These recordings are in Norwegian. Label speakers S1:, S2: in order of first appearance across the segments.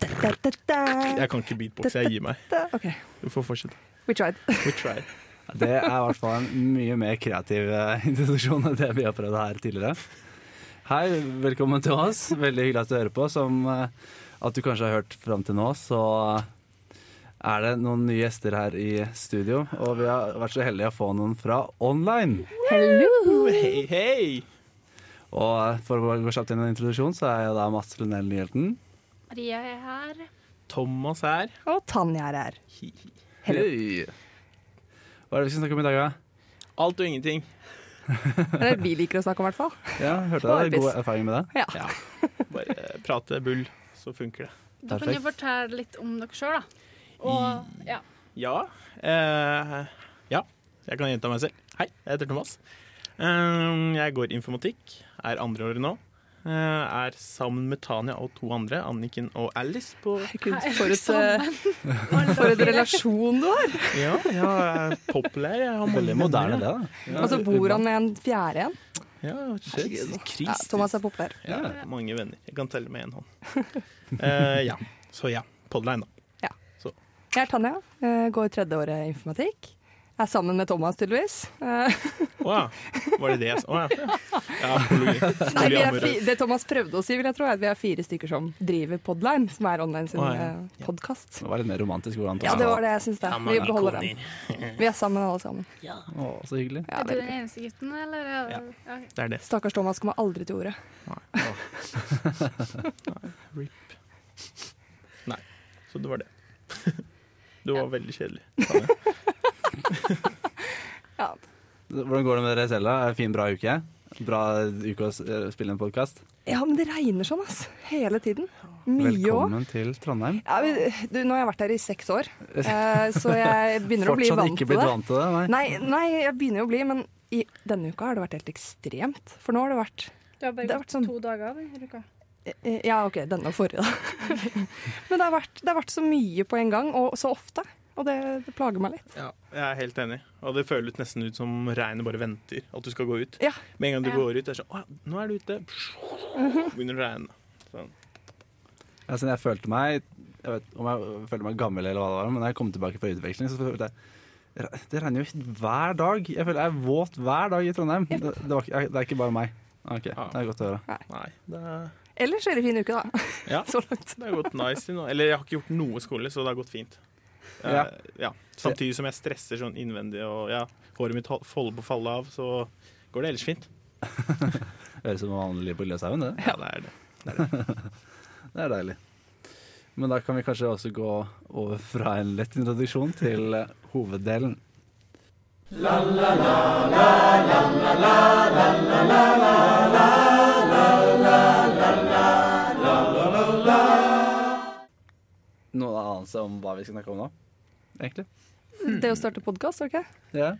S1: Jeg kan ikke beatboxe, jeg gir meg.
S2: OK.
S1: Du får fortsette.
S2: We tried.
S1: We tried.
S3: Det er i hvert fall en mye mer kreativ eh, institusjon enn det vi har prøvd her tidligere. Hei, velkommen til oss. Veldig hyggelig at du hører på. Som eh, at du kanskje har hørt fram til nå, så eh, er det noen nye gjester her i studio. Og vi har vært så heldige å få noen fra online.
S2: Hello!
S1: Hei, hei!
S3: Og eh, for å gå kjapt inn i en introduksjon, så er jeg da Mats Lundell Nyhjelten.
S4: Maria er her.
S1: Thomas her.
S2: Og Tanja er her.
S1: Hi, hi.
S2: Hello.
S3: Hei. Hva er det vi skal snakke om i dag, da?
S1: Alt og ingenting.
S2: Det er det vi liker å snakke om, i hvert fall.
S3: Ja, hørte jeg det.
S2: Sparepiss.
S3: God erfaring med det.
S2: Ja.
S1: Bare prate bull, så funker det.
S4: Du
S3: Perfekt.
S4: kan jo fortelle litt om dere sjøl, da. Og ja.
S1: Ja. Eh, ja, jeg kan gjenta meg selv. Hei, jeg heter Thomas. Eh, jeg går informatikk, er andre året nå. Eh, er sammen med Tanja og to andre, Anniken og Alice, på
S2: Herregud,
S4: Her er
S2: for
S4: vi
S2: et, eh,
S4: sammen.
S2: for et relasjon du har!
S1: Ja, ja jeg er populær. Jeg har
S3: Veldig moderne, det. da.
S2: Og så bor han med en fjerde en.
S1: Ja, shit.
S2: Ja, Thomas er populær.
S1: Ja, mange venner. Jeg kan telle med én hånd. Eh, ja. Så ja, podline, da.
S2: Jeg er Tanja, eh, går tredje året i informatikk. Er sammen med Thomas, tydeligvis. Eh,
S1: Å ja. Var det det jeg sa? Å ja. ja poly-
S2: Nei, vi er
S1: polyamorøs.
S2: fi, det Thomas prøvde å si, vil jeg tro, er at vi er fire stykker som driver Podline, som er online sin
S1: Å, ja.
S2: eh, podkast.
S3: Det var litt mer romantisk hvordan
S2: Ja, det var det jeg syns. det.
S1: Ja,
S2: Vi
S1: mange
S2: beholder den.
S1: koner.
S2: Vi er sammen, alle sammen.
S3: Å, så hyggelig.
S2: Ja,
S4: er du
S2: det er
S4: den
S2: bra.
S4: eneste gutten, eller? eh,
S1: Ja.
S4: Ja.
S1: Det er det.
S2: Stakkars Thomas kommer aldri til ordet.
S1: RIP. Nei, så det var det. Du var veldig kjedelig. Tanja.
S2: Ja.
S3: Hvordan går det med dere selv? da? Er det Fin, bra uke? Bra uke å s- eh, spille en podkast?
S2: ja, men det regner sånn, ass. Hele tiden. Mye òg.
S3: Velkommen til Trondheim.
S2: Ja, men, du, nå har jeg vært her i seks år, eh, så jeg begynner å bli
S3: Fortsatt
S2: vant
S3: ikke
S2: til
S3: blitt
S2: det.
S3: vant til det, nei.
S2: Nei, nei, jeg begynner jo å bli, men i denne uka har det vært helt ekstremt. For nå har det vært
S4: Du har bare
S2: Det har
S4: gått
S2: vært sånn-
S4: to dager denne uka.
S2: eh, Ja, OK, denne og forrige, da. Men det har, vært, det har vært så mye på en gang, og så ofte. Og det, det plager meg litt.
S1: Ja, jeg er helt enig. Og det føles nesten ut som regnet bare venter at du skal gå ut.
S2: Ja.
S1: Med en gang du
S4: Ja.
S1: går ut, det er sånn Å ja, nå er du ute. Begynner å regne. Sånn.
S3: Altså, jeg følte meg Jeg vet om jeg følte meg gammel, eller hva det var, men da jeg kom tilbake fra utveksling, så følte jeg Det regner jo hver dag. Jeg føler jeg er våt hver dag i Trondheim. Det, det, var, ikke- det er ikke bare meg. Ok,
S1: Ja.
S3: Det er godt å høre.
S1: Nei, det er,
S2: Ellers er det fin uke, da.
S1: Ja.
S2: Så langt.
S1: det har gått nice til nå. Eller jeg har ikke gjort noe skole, så det har gått fint. Eh,
S3: Ja.
S1: ja. Samtidig som jeg stresser sånn innvendig og ja, håret mitt hol- holder på å falle av, så går det ellers fint.
S3: Høres ut som vanlig liv på Lilleshaugen, det.
S1: Ja, det er det.
S3: Det er deilig. Men da kan vi kanskje også gå over fra en lett introduksjon til eh, hoveddelen. Noen anelse om hva vi skal snakke om nå, egentlig?
S2: Mm. Det å starte podkast, OK?
S3: Ja.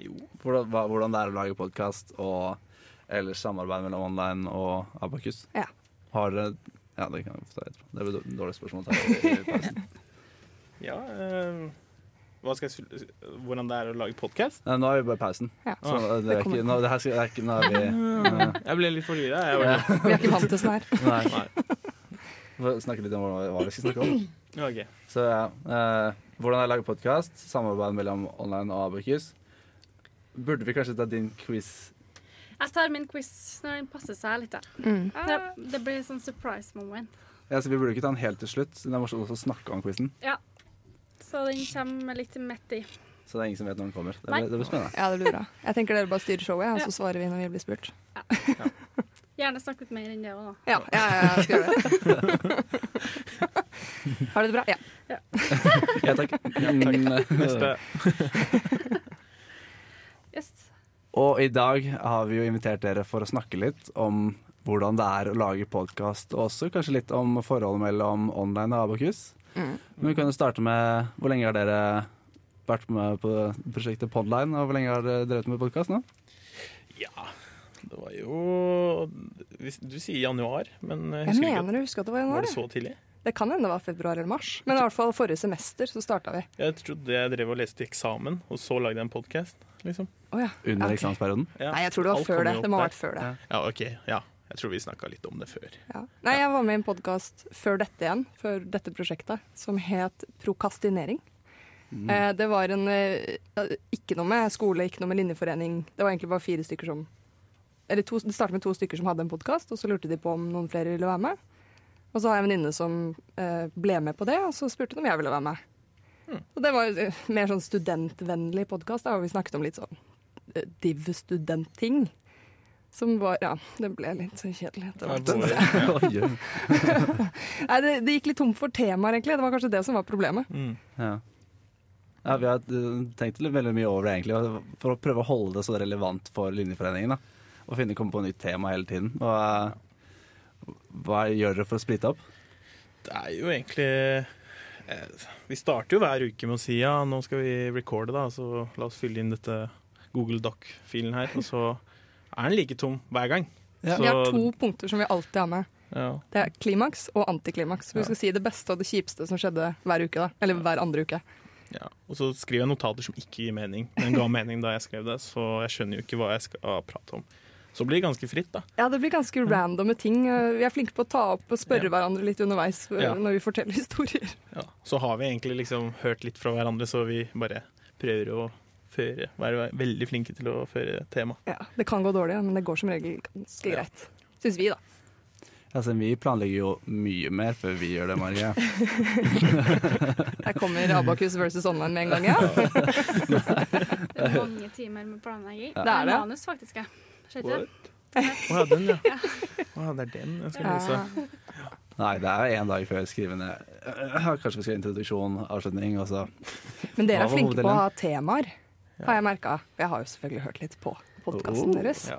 S1: Jo.
S3: Hvordan, hva, hvordan det er å lage podkast og ellers samarbeid mellom online og Abakus?
S2: Ja.
S3: Har dere Ja, det kan jeg få ta etterpå. Det blir dår- dårlig spørsmål. å ta i pausen.
S1: Ja, eh, hva skal jeg, sl- hvordan det er å lage podkast?
S3: Nei, nå er vi bare i pausen.
S2: Ja.
S3: Så det er
S2: det kommer.
S3: ikke, nå, det her skal, det er ikke, nå er vi
S1: Jeg ble litt forvirra. Jeg var
S3: Ja.
S1: litt-
S2: Vi er ikke vant til sånn her.
S3: Nei.
S1: Nei.
S3: Får snakke litt om hva, hva vi skal snakke om.
S1: Ok.
S3: Så ja, eh, Hvordan jeg lager podkast, samarbeid mellom online og Abakus. Burde vi kanskje ta din quiz?
S4: Jeg tar min quiz når den passer seg litt. Da.
S2: Mm.
S4: Det, det blir sånn surprise moment.
S3: Ja, så Vi burde ikke ta den helt til slutt. siden Det er morsomt også å snakke om quizen.
S4: Så den kommer litt midt i.
S3: Så det er ingen som vet når den kommer. Det
S4: Nei.
S3: blir, det blir spennende.
S2: Ja, det blir bra. Jeg tenker dere bare styrer showet, ja, og så svarer vi når vi blir spurt.
S4: Gjerne snakk litt mer enn det òg, da.
S2: Ja, ja, ja, jeg skal gjøre det. Har dere det bra? Ja.
S3: Ja, takk. Mm.
S1: Neste.
S4: Yes.
S3: Og i dag har vi jo invitert dere for å snakke litt om hvordan det er å lage podkast, og også kanskje litt om forholdet mellom online og Abakus.
S2: Mm.
S3: Men vi kan jo starte med Hvor lenge har dere vært med på prosjektet Podline, og hvor lenge har dere drevet med podkast nå?
S1: Ja. Det var jo hvis- Du sier januar, men jeg
S2: Jeg
S1: husker ikke.
S2: mener du husker at det var
S1: at-
S2: en
S1: Var
S2: år.
S1: det
S2: jeg.
S1: så tidlig?
S2: Det kan hende det var februar eller mars, men i hvert fall forrige semester så starta vi.
S1: Jeg trodde jeg drev og leste eksamen, og så lagde jeg en podkast. Liksom.
S2: Å ja.
S3: Under
S2: ok.
S3: eksamensperioden.
S1: Ja.
S2: Nei, jeg tror det var
S1: Alt
S2: før
S1: kommer
S2: det.
S1: jo
S2: Det må ha
S1: opp
S2: vært før det.
S3: Ja.
S1: der. Ja, ok, ja. Jeg tror vi snakka litt om det før.
S2: Ja. Nei, jeg var med i en podkast før dette igjen, før dette prosjektet, som het Prokastinering. Eh, det var en eh, Ikke noe med skole, ikke noe med linjeforening. Det var egentlig bare fire stykker som Eller to, det startet med to stykker som hadde en podkast, og så lurte de på om noen flere ville være med. Og så har jeg en venninne som eh, ble med på det, og så spurte hun om jeg ville være med. Og det var eh, mer sånn studentvennlig podkast, hvor vi snakket om litt sånn eh, div-student-ting. Som var Ja, det ble litt så kjedelig etter hvert.
S1: Våre-
S3: Oi, oi.
S2: Nei, det, det gikk litt tom for temaer, egentlig. Det var kanskje det som var problemet.
S1: Mm.
S3: Ja. Ja, vi har eh, tenkt litt veldig mye over det, egentlig, og for å prøve å holde det så relevant for Linjeforeningen. Da. Og finne komme på nytt tema hele tiden. Og, eh, hva gjør dere for å splite opp?
S1: Det er jo egentlig eh, Vi starter jo hver uke med å si ja, nå skal vi recorde, da, så la oss fylle inn dette Google Doc-filen her. Og så er den like tom hver gang.
S3: Ja.
S2: Vi har to punkter som vi alltid har med.
S1: ja.
S2: Det er klimaks og antiklimaks. Vi
S1: Ja.
S2: skal si det beste og det kjipeste som skjedde hver uke. da. Eller hver andre uke.
S1: Ja, Og så skriver jeg notater som ikke gir mening, men ga mening da jeg skrev det. Så jeg skjønner jo ikke hva jeg skal prate om. Så blir det ganske fritt, da.
S2: Ja, det blir ganske randomme ting. Vi er flinke på å ta opp og spørre
S1: Ja.
S2: hverandre litt underveis øh,
S1: Ja.
S2: når vi forteller historier.
S1: Ja. Så har vi egentlig liksom hørt litt fra hverandre, så vi bare prøver å føre, være veldig flinke til å føre tema.
S2: Ja, Det kan gå dårlig, men det går som regel ganske
S1: Ja.
S2: greit. Syns vi, da.
S3: Altså, vi planlegger jo mye mer før vi gjør det, Marie.
S2: Her kommer Abakus versus online med en gang, ja.
S4: Det er mange timer med planlegging.
S2: Det er det.
S4: Manus, faktisk. Jeg. Skjønner du?
S1: Å ja, den, ja. Å ja, det er den jeg skal lese.
S2: ja.
S3: Nei, det er jo én dag før skrivende. Øh, Kanskje vi skal ha introduksjon, avslutning, og så
S2: Men dere
S3: Hva
S2: er
S3: var
S2: flinke på å
S3: hoveddelen?
S2: ha temaer, har jeg merka. Jeg har jo selvfølgelig hørt litt på podkasten
S3: Oh,
S2: deres.
S1: Ja.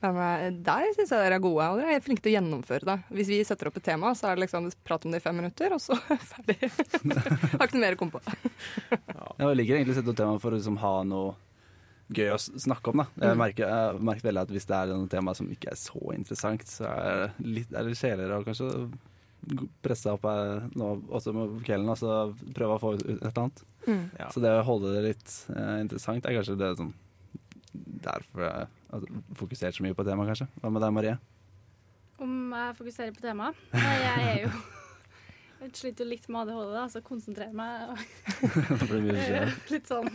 S2: Men eh, der syns jeg dere er gode, og dere er flinke til å gjennomføre det. Hvis vi setter opp et tema, så er det liksom prat om det i fem minutter, og så ferdig. har ikke noe mer å komme på.
S3: Ja, Jeg liker egentlig å sette opp tema for å liksom ha noe gøy å s- snakke om. Da. Jeg merker, jeg merker veldig at hvis det er noe tema som ikke er så interessant, så er det litt, er det kjedeligere å kanskje g- presse seg opp eh, nå, også med på kvelden og så prøve å få ut ut et eller annet.
S2: Mm.
S1: Ja.
S3: Så det å holde det litt eh, interessant er kanskje det som Derfor jeg har fokusert så mye på temaet, kanskje. Hva med deg, Marie?
S4: Om jeg fokuserer på temaet. Nei, Jeg er jo Jeg sliter jo litt med ADHD, da, så konsentrerer meg og
S3: Det blir mye
S4: er
S3: kjedelig.
S4: litt sånn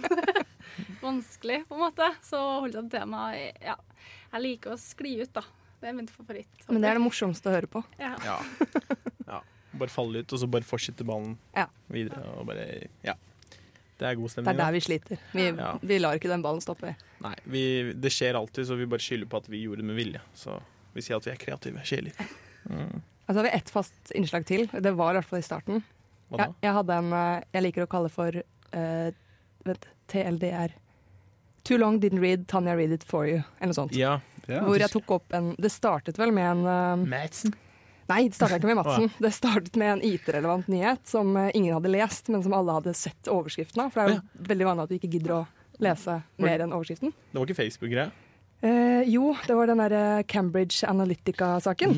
S4: vanskelig, på en måte. Så å holde seg til temaet Ja. Jeg liker å skli ut, da. Det er min favoritt.
S2: Men det er det morsomste å høre på.
S4: Ja.
S1: Ja. ja. Bare falle ut, og så bare fortsette ballen
S2: Ja.
S1: videre. Og bare, ja. Det er god
S2: Det
S1: stemning.
S2: er
S1: da.
S2: der vi sliter. Vi,
S1: Ja.
S2: vi lar ikke den ballen stoppe. vi.
S1: Nei, vi, det skjer alltid, så vi bare skylder på at vi gjorde det med vilje. Så vi sier at vi er kreative sjeler.
S2: Altså har vi ett fast innslag til. Det var i hvert fall i starten.
S1: Hva da?
S2: Jeg, jeg hadde en eh, jeg liker å kalle for eh, vent, TLDR. Too long didn't read, Tanya read it for you. Eller noe sånt.
S1: Ja.
S3: Ja.
S2: Hvor jeg tok opp en Det startet vel med en eh,
S1: Madsen.
S2: Nei, det startet ikke med
S1: Å,
S2: Madsen. Det startet med en IT-relevant nyhet som eh, ingen hadde lest, men som alle hadde sett overskriften av. For det er jo veldig vanlig at du ikke gidder å lese mer enn overskriften.
S1: Det var ikke Facebook-greie.
S2: Eh, jo, det var den der eh, Cambridge
S1: Mm.
S2: Analytica-saken.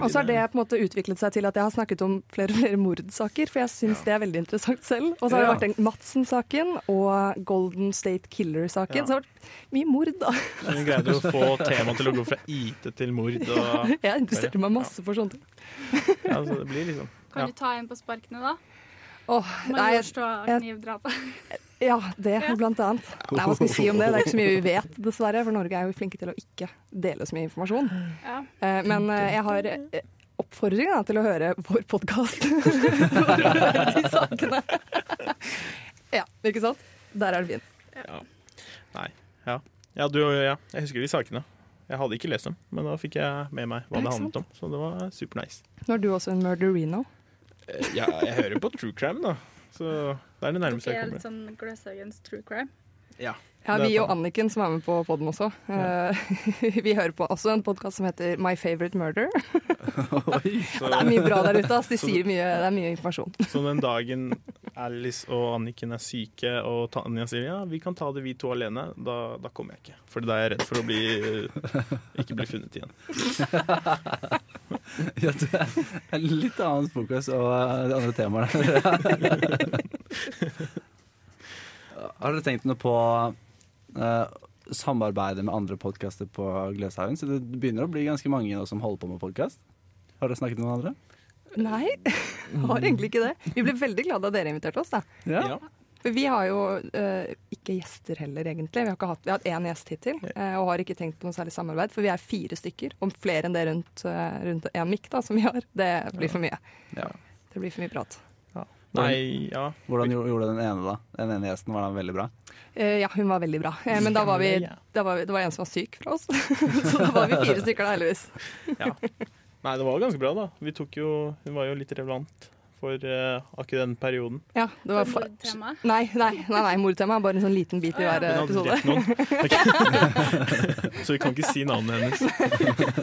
S2: Og så har det på en måte utviklet seg til at jeg har snakket om flere og flere mordsaker, for jeg syns det er veldig interessant selv. Og så har det
S3: Ja.
S2: vært den Madsen-saken og Golden State Killer-saken.
S1: Ja.
S2: Så det har vært mye mord, da.
S1: Så vi greide å få temaet til å gå fra IT til mord. Og,
S2: Jeg interesserte meg masse for sånne ting.
S1: ja, så det blir liksom
S4: Kan du ta en på sparkene, da?
S2: Åh, nei, jeg-
S4: Majorstua-knivdrapet.
S2: Ja, det blant annet. Nei, hva skal vi si om det? Det er ikke så mye vi vet, dessverre. For Norge er jo flinke til å ikke dele så mye informasjon.
S4: Ja.
S2: Eh, Men eh, jeg har eh, oppfordring da, til å høre vår podkast. De sakene. Ja, ikke sant? Der er det fint.
S1: Ja, du ja. Jeg husker de sakene. Jeg hadde ikke lest dem, men da fikk jeg med meg hva
S2: Ja,
S1: det
S2: ikke
S1: handlet om. Så det var supernice.
S2: Nå er du også en murderino.
S1: Eh, Ja, jeg hører på true crime, da. Så det er det nærmeste
S4: Det
S1: jeg
S4: er
S1: kommer.
S4: litt sånn Gløshaugens true crime.
S1: Ja.
S2: Ja,
S1: Det er
S2: Vi og
S1: sant.
S2: Anniken, som er med på poden også, eh, vi hører på også en podkast som heter My Favorite Murder.
S3: Oi.
S2: Det er mye bra der ute. ass. De sier mye, det er mye informasjon.
S1: Så den dagen Alice og Anniken er syke, og Tanja sier ja, vi kan ta det vi to alene, da, da kommer eh, jeg ikke. For da er jeg redd for å bli, ikke bli funnet igjen.
S3: Ja, det er litt annet fokus og eh, de andre temaene der. Har dere tenkt noe på eh, samarbeidet med andre podkaster på Gløshaugen? Så det begynner å bli ganske mange nå som holder på med podkast. Har dere snakket med noen andre?
S2: Nei, har egentlig ikke det. Vi ble veldig glad da dere inviterte oss, da.
S1: Ja.
S2: For vi har jo eh, ikke gjester heller, egentlig. Vi har, ikke hatt, vi har hatt én gjest hittil, eh, og har ikke tenkt på noe særlig samarbeid. For vi er fire stykker, om flere enn det rundt, eh, rundt en mikk da, som vi har. Det blir for mye.
S3: Ja.
S2: Det blir for mye prat.
S1: Nei, ja.
S3: Hvordan gjo- gjorde den ene, da? Den ene gjesten var da veldig bra.
S2: Eh, ja, hun var veldig bra. Eh, men da var vi, da var vi, det var en som var syk fra oss. Så da var vi fire stykker da, heldigvis.
S1: Nei, det var jo ganske bra, da. Vi tok jo, hun var jo litt relevant for eh, akkurat den perioden.
S2: Ja, det var fa-
S4: Mordtema.
S2: Nei, nei, nei, nei mordtema er bare en sånn liten bit i hver
S1: Hun hadde
S2: episode.
S1: drept noen. Ok. Så vi kan ikke si navnet hennes.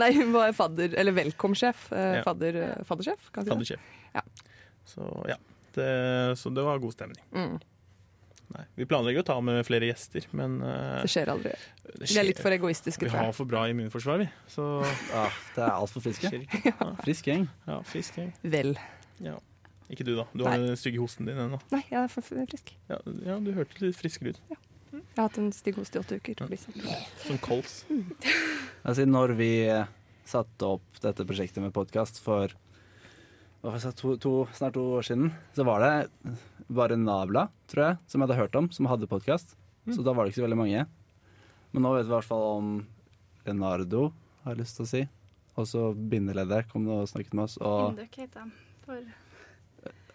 S2: Nei, hun var fadder, eller velkomsjef. eh,
S1: Ja.
S2: Fadder, faddersjef, kan jeg
S1: Kan du
S2: si det?
S1: sjef.
S2: Ja.
S1: Så ja. Det, så det var god stemning.
S2: Mm,
S1: Nei, vi planlegger å ta med flere gjester, men eh,
S2: det skjer aldri.
S1: det
S2: Vi er litt for egoistiske,
S1: Vi
S2: tror
S1: har
S2: jeg.
S1: for bra immunforsvar, vi. Så
S3: Ah, det er altfor friske.
S1: skjer ikke.
S3: Frisk gjeng.
S1: Ja, frisk gjeng.
S2: Vel.
S1: Ja. Ikke du, da. Du har
S2: Nei.
S1: den stygge hosten din ennå.
S2: Nei, jeg er for for frisk.
S1: Ja, ja, du hørte litt friskere ut.
S2: Jeg har hatt en stygg host i åtte uker. Liksom.
S1: Som kols.
S3: Altså, når vi eh, satte opp dette prosjektet med podkast for hva var det jeg sa, to, to, snart to år siden, så var det bare Navla, tror jeg, som jeg hadde hørt om, som hadde podkast. Så da var det ikke så veldig mange. Men nå vet vi i hvert fall om Leonardo, har jeg lyst til å si. Og så bindeleddet kom og snakket med oss. Og,
S4: Induk heter de. For,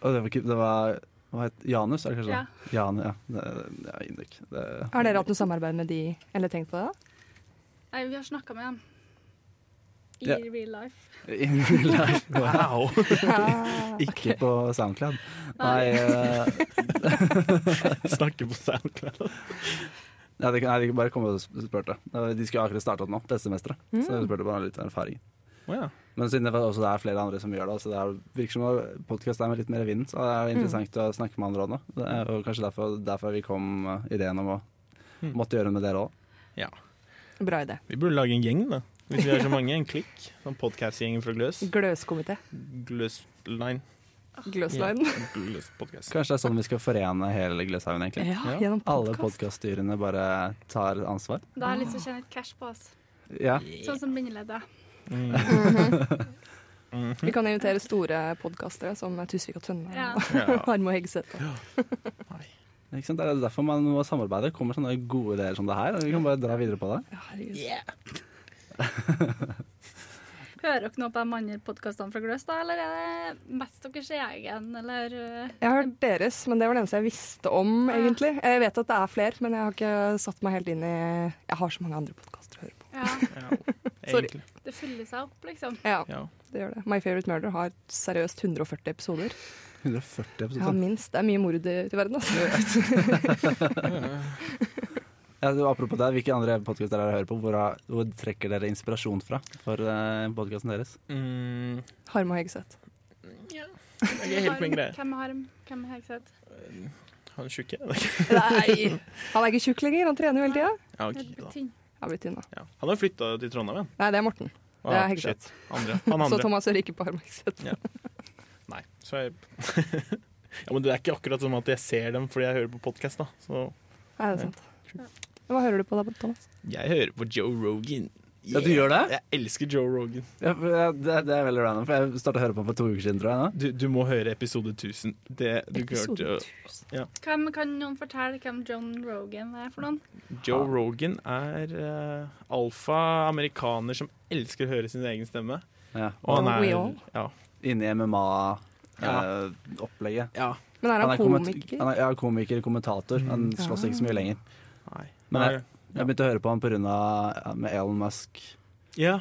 S3: og det var, ikke- det var hva het Janus, er det kanskje?
S4: ja.
S3: Jan, ja. Det- Ja, Induk. Det-
S2: Har dere hatt noe samarbeid med de, eller tenkt på det? da?
S4: Nei, vi har snakka med dem. I
S3: Ja.
S4: real life.
S1: Wow!
S3: Ikke på SoundCloud. Nei, eh,
S1: Snakker på SoundCloud.
S3: Nei, de, nei, de bare kom og sp- spurte. De skulle akkurat starte opp nå, dette semesteret. Så de spurte bare litt om erfaring.
S1: Å ja.
S3: Men siden det også er flere andre som gjør det, så det er, virker som om podkast er med litt mer vind, så det er interessant å snakke med andre òg nå. Det er- Og kanskje derfor, derfor vi kom eh, ideen om å
S1: Mm.
S3: måtte gjøre det med dere òg.
S1: ja.
S2: Bra idé.
S1: Vi burde lage en gjeng, da. Hvis vi er så mange. En klikk. Sånn podkast-gjengen fra Gløs.
S2: Gløskomité.
S1: Gløsline.
S2: Gløsliden.
S1: Gløs podcast.
S3: Kanskje det er sånn vi skal forene hele Gløshaugen, egentlig.
S2: Ja, gjennom
S3: Alle
S2: podkast.
S3: podkaststyrene bare tar ansvar.
S4: Da har jeg lyst til å tjene litt cash på oss.
S3: Ja.
S4: Sånn som bindeleddet.
S1: Mm.
S2: Vi kan invitere store podkastere som Tusvik og Tønne
S4: Ja.
S2: og
S1: Ja.
S2: Harmo og Hegseth.
S1: Nei.
S3: Ikke sant? Det er derfor man må samarbeide. Det kommer sånne gode ideer som det her, og vi kan bare dra videre på det.
S2: Ja, herregud.
S4: Hører dere noe på de andre podkastene fra Gløs, da, eller er det mest deres egen, eller eh,
S2: Jeg har hørt deres, men det var det eneste jeg visste om, egentlig. Jeg vet at det er flere, men jeg har ikke satt meg helt inn i Jeg har så mange andre podkaster å høre på.
S4: Ja,
S1: Ja.
S2: Sorry.
S1: Egentlig.
S4: det fyller seg opp, liksom.
S2: Ja,
S1: Ja.
S2: det gjør det. My Favorite Murder har seriøst 140 episoder.
S3: 140 episoder.
S2: Ja, minst. Det er mye mord i i verden, altså.
S3: Ja, du, apropos det, Hvilke andre podkaster dere hører på? Hvor, har- hvor trekker dere inspirasjon fra for uh, podkasten deres?
S1: Mm.
S2: Harmo og Hegseth.
S1: Det er ikke helt min greie.
S4: Hvem er Harm? Hvem er Hegseth?
S1: Han tjukke?
S2: Nei! Han er ikke tjukk lenger, han trener jo hele tida.
S1: Ja, ok,
S4: Helt
S1: da.
S4: tynn.
S2: Jeg har blitt tynn, da.
S1: Ja. Han har flytta til Trondheim igjen.
S2: Nei, det er Morten. Det er
S1: Ah,
S2: Hegseth.
S1: shit. Andre. Han
S2: Så
S1: andre.
S2: Thomas hører ikke på Harmo og Hegseth.
S1: Nei, så jeg Ja, men det er ikke akkurat som at jeg ser dem fordi jeg hører på podkast, da. Så
S2: Nei, det er sant. Hva hører du på da, Thomas?
S1: jeg hører på Joe Rogan.
S3: Ja, du gjør det?
S1: Jeg elsker Joe Rogan.
S3: Ja, for, ja, det, det er veldig random, for jeg starta å høre på den for to uker siden, tror jeg. nå.
S1: Du, du må høre episode 1000. Det, du
S2: Episode
S1: hørte
S2: 1000.
S4: Hvem kan noen fortelle hvem John Rogan er for noen?
S1: Joe Rogan er eh, alfa amerikaner som elsker å høre sin egen stemme.
S3: Ja.
S1: Og han
S2: Don't
S1: er
S2: we all?
S1: Ja.
S3: Inne i
S1: Ja.
S3: MMA-opplegget.
S1: ja.
S2: Men er han,
S3: komment-
S2: komiker?
S3: eh,
S2: Ah.
S3: han er, ja, komiker, kommentator. Han slåss ikke så mye lenger.
S1: Nei.
S3: Men
S1: Nei.
S3: jeg, jeg begynte å høre på han pga. Ja, med Elon Musk
S1: Ja.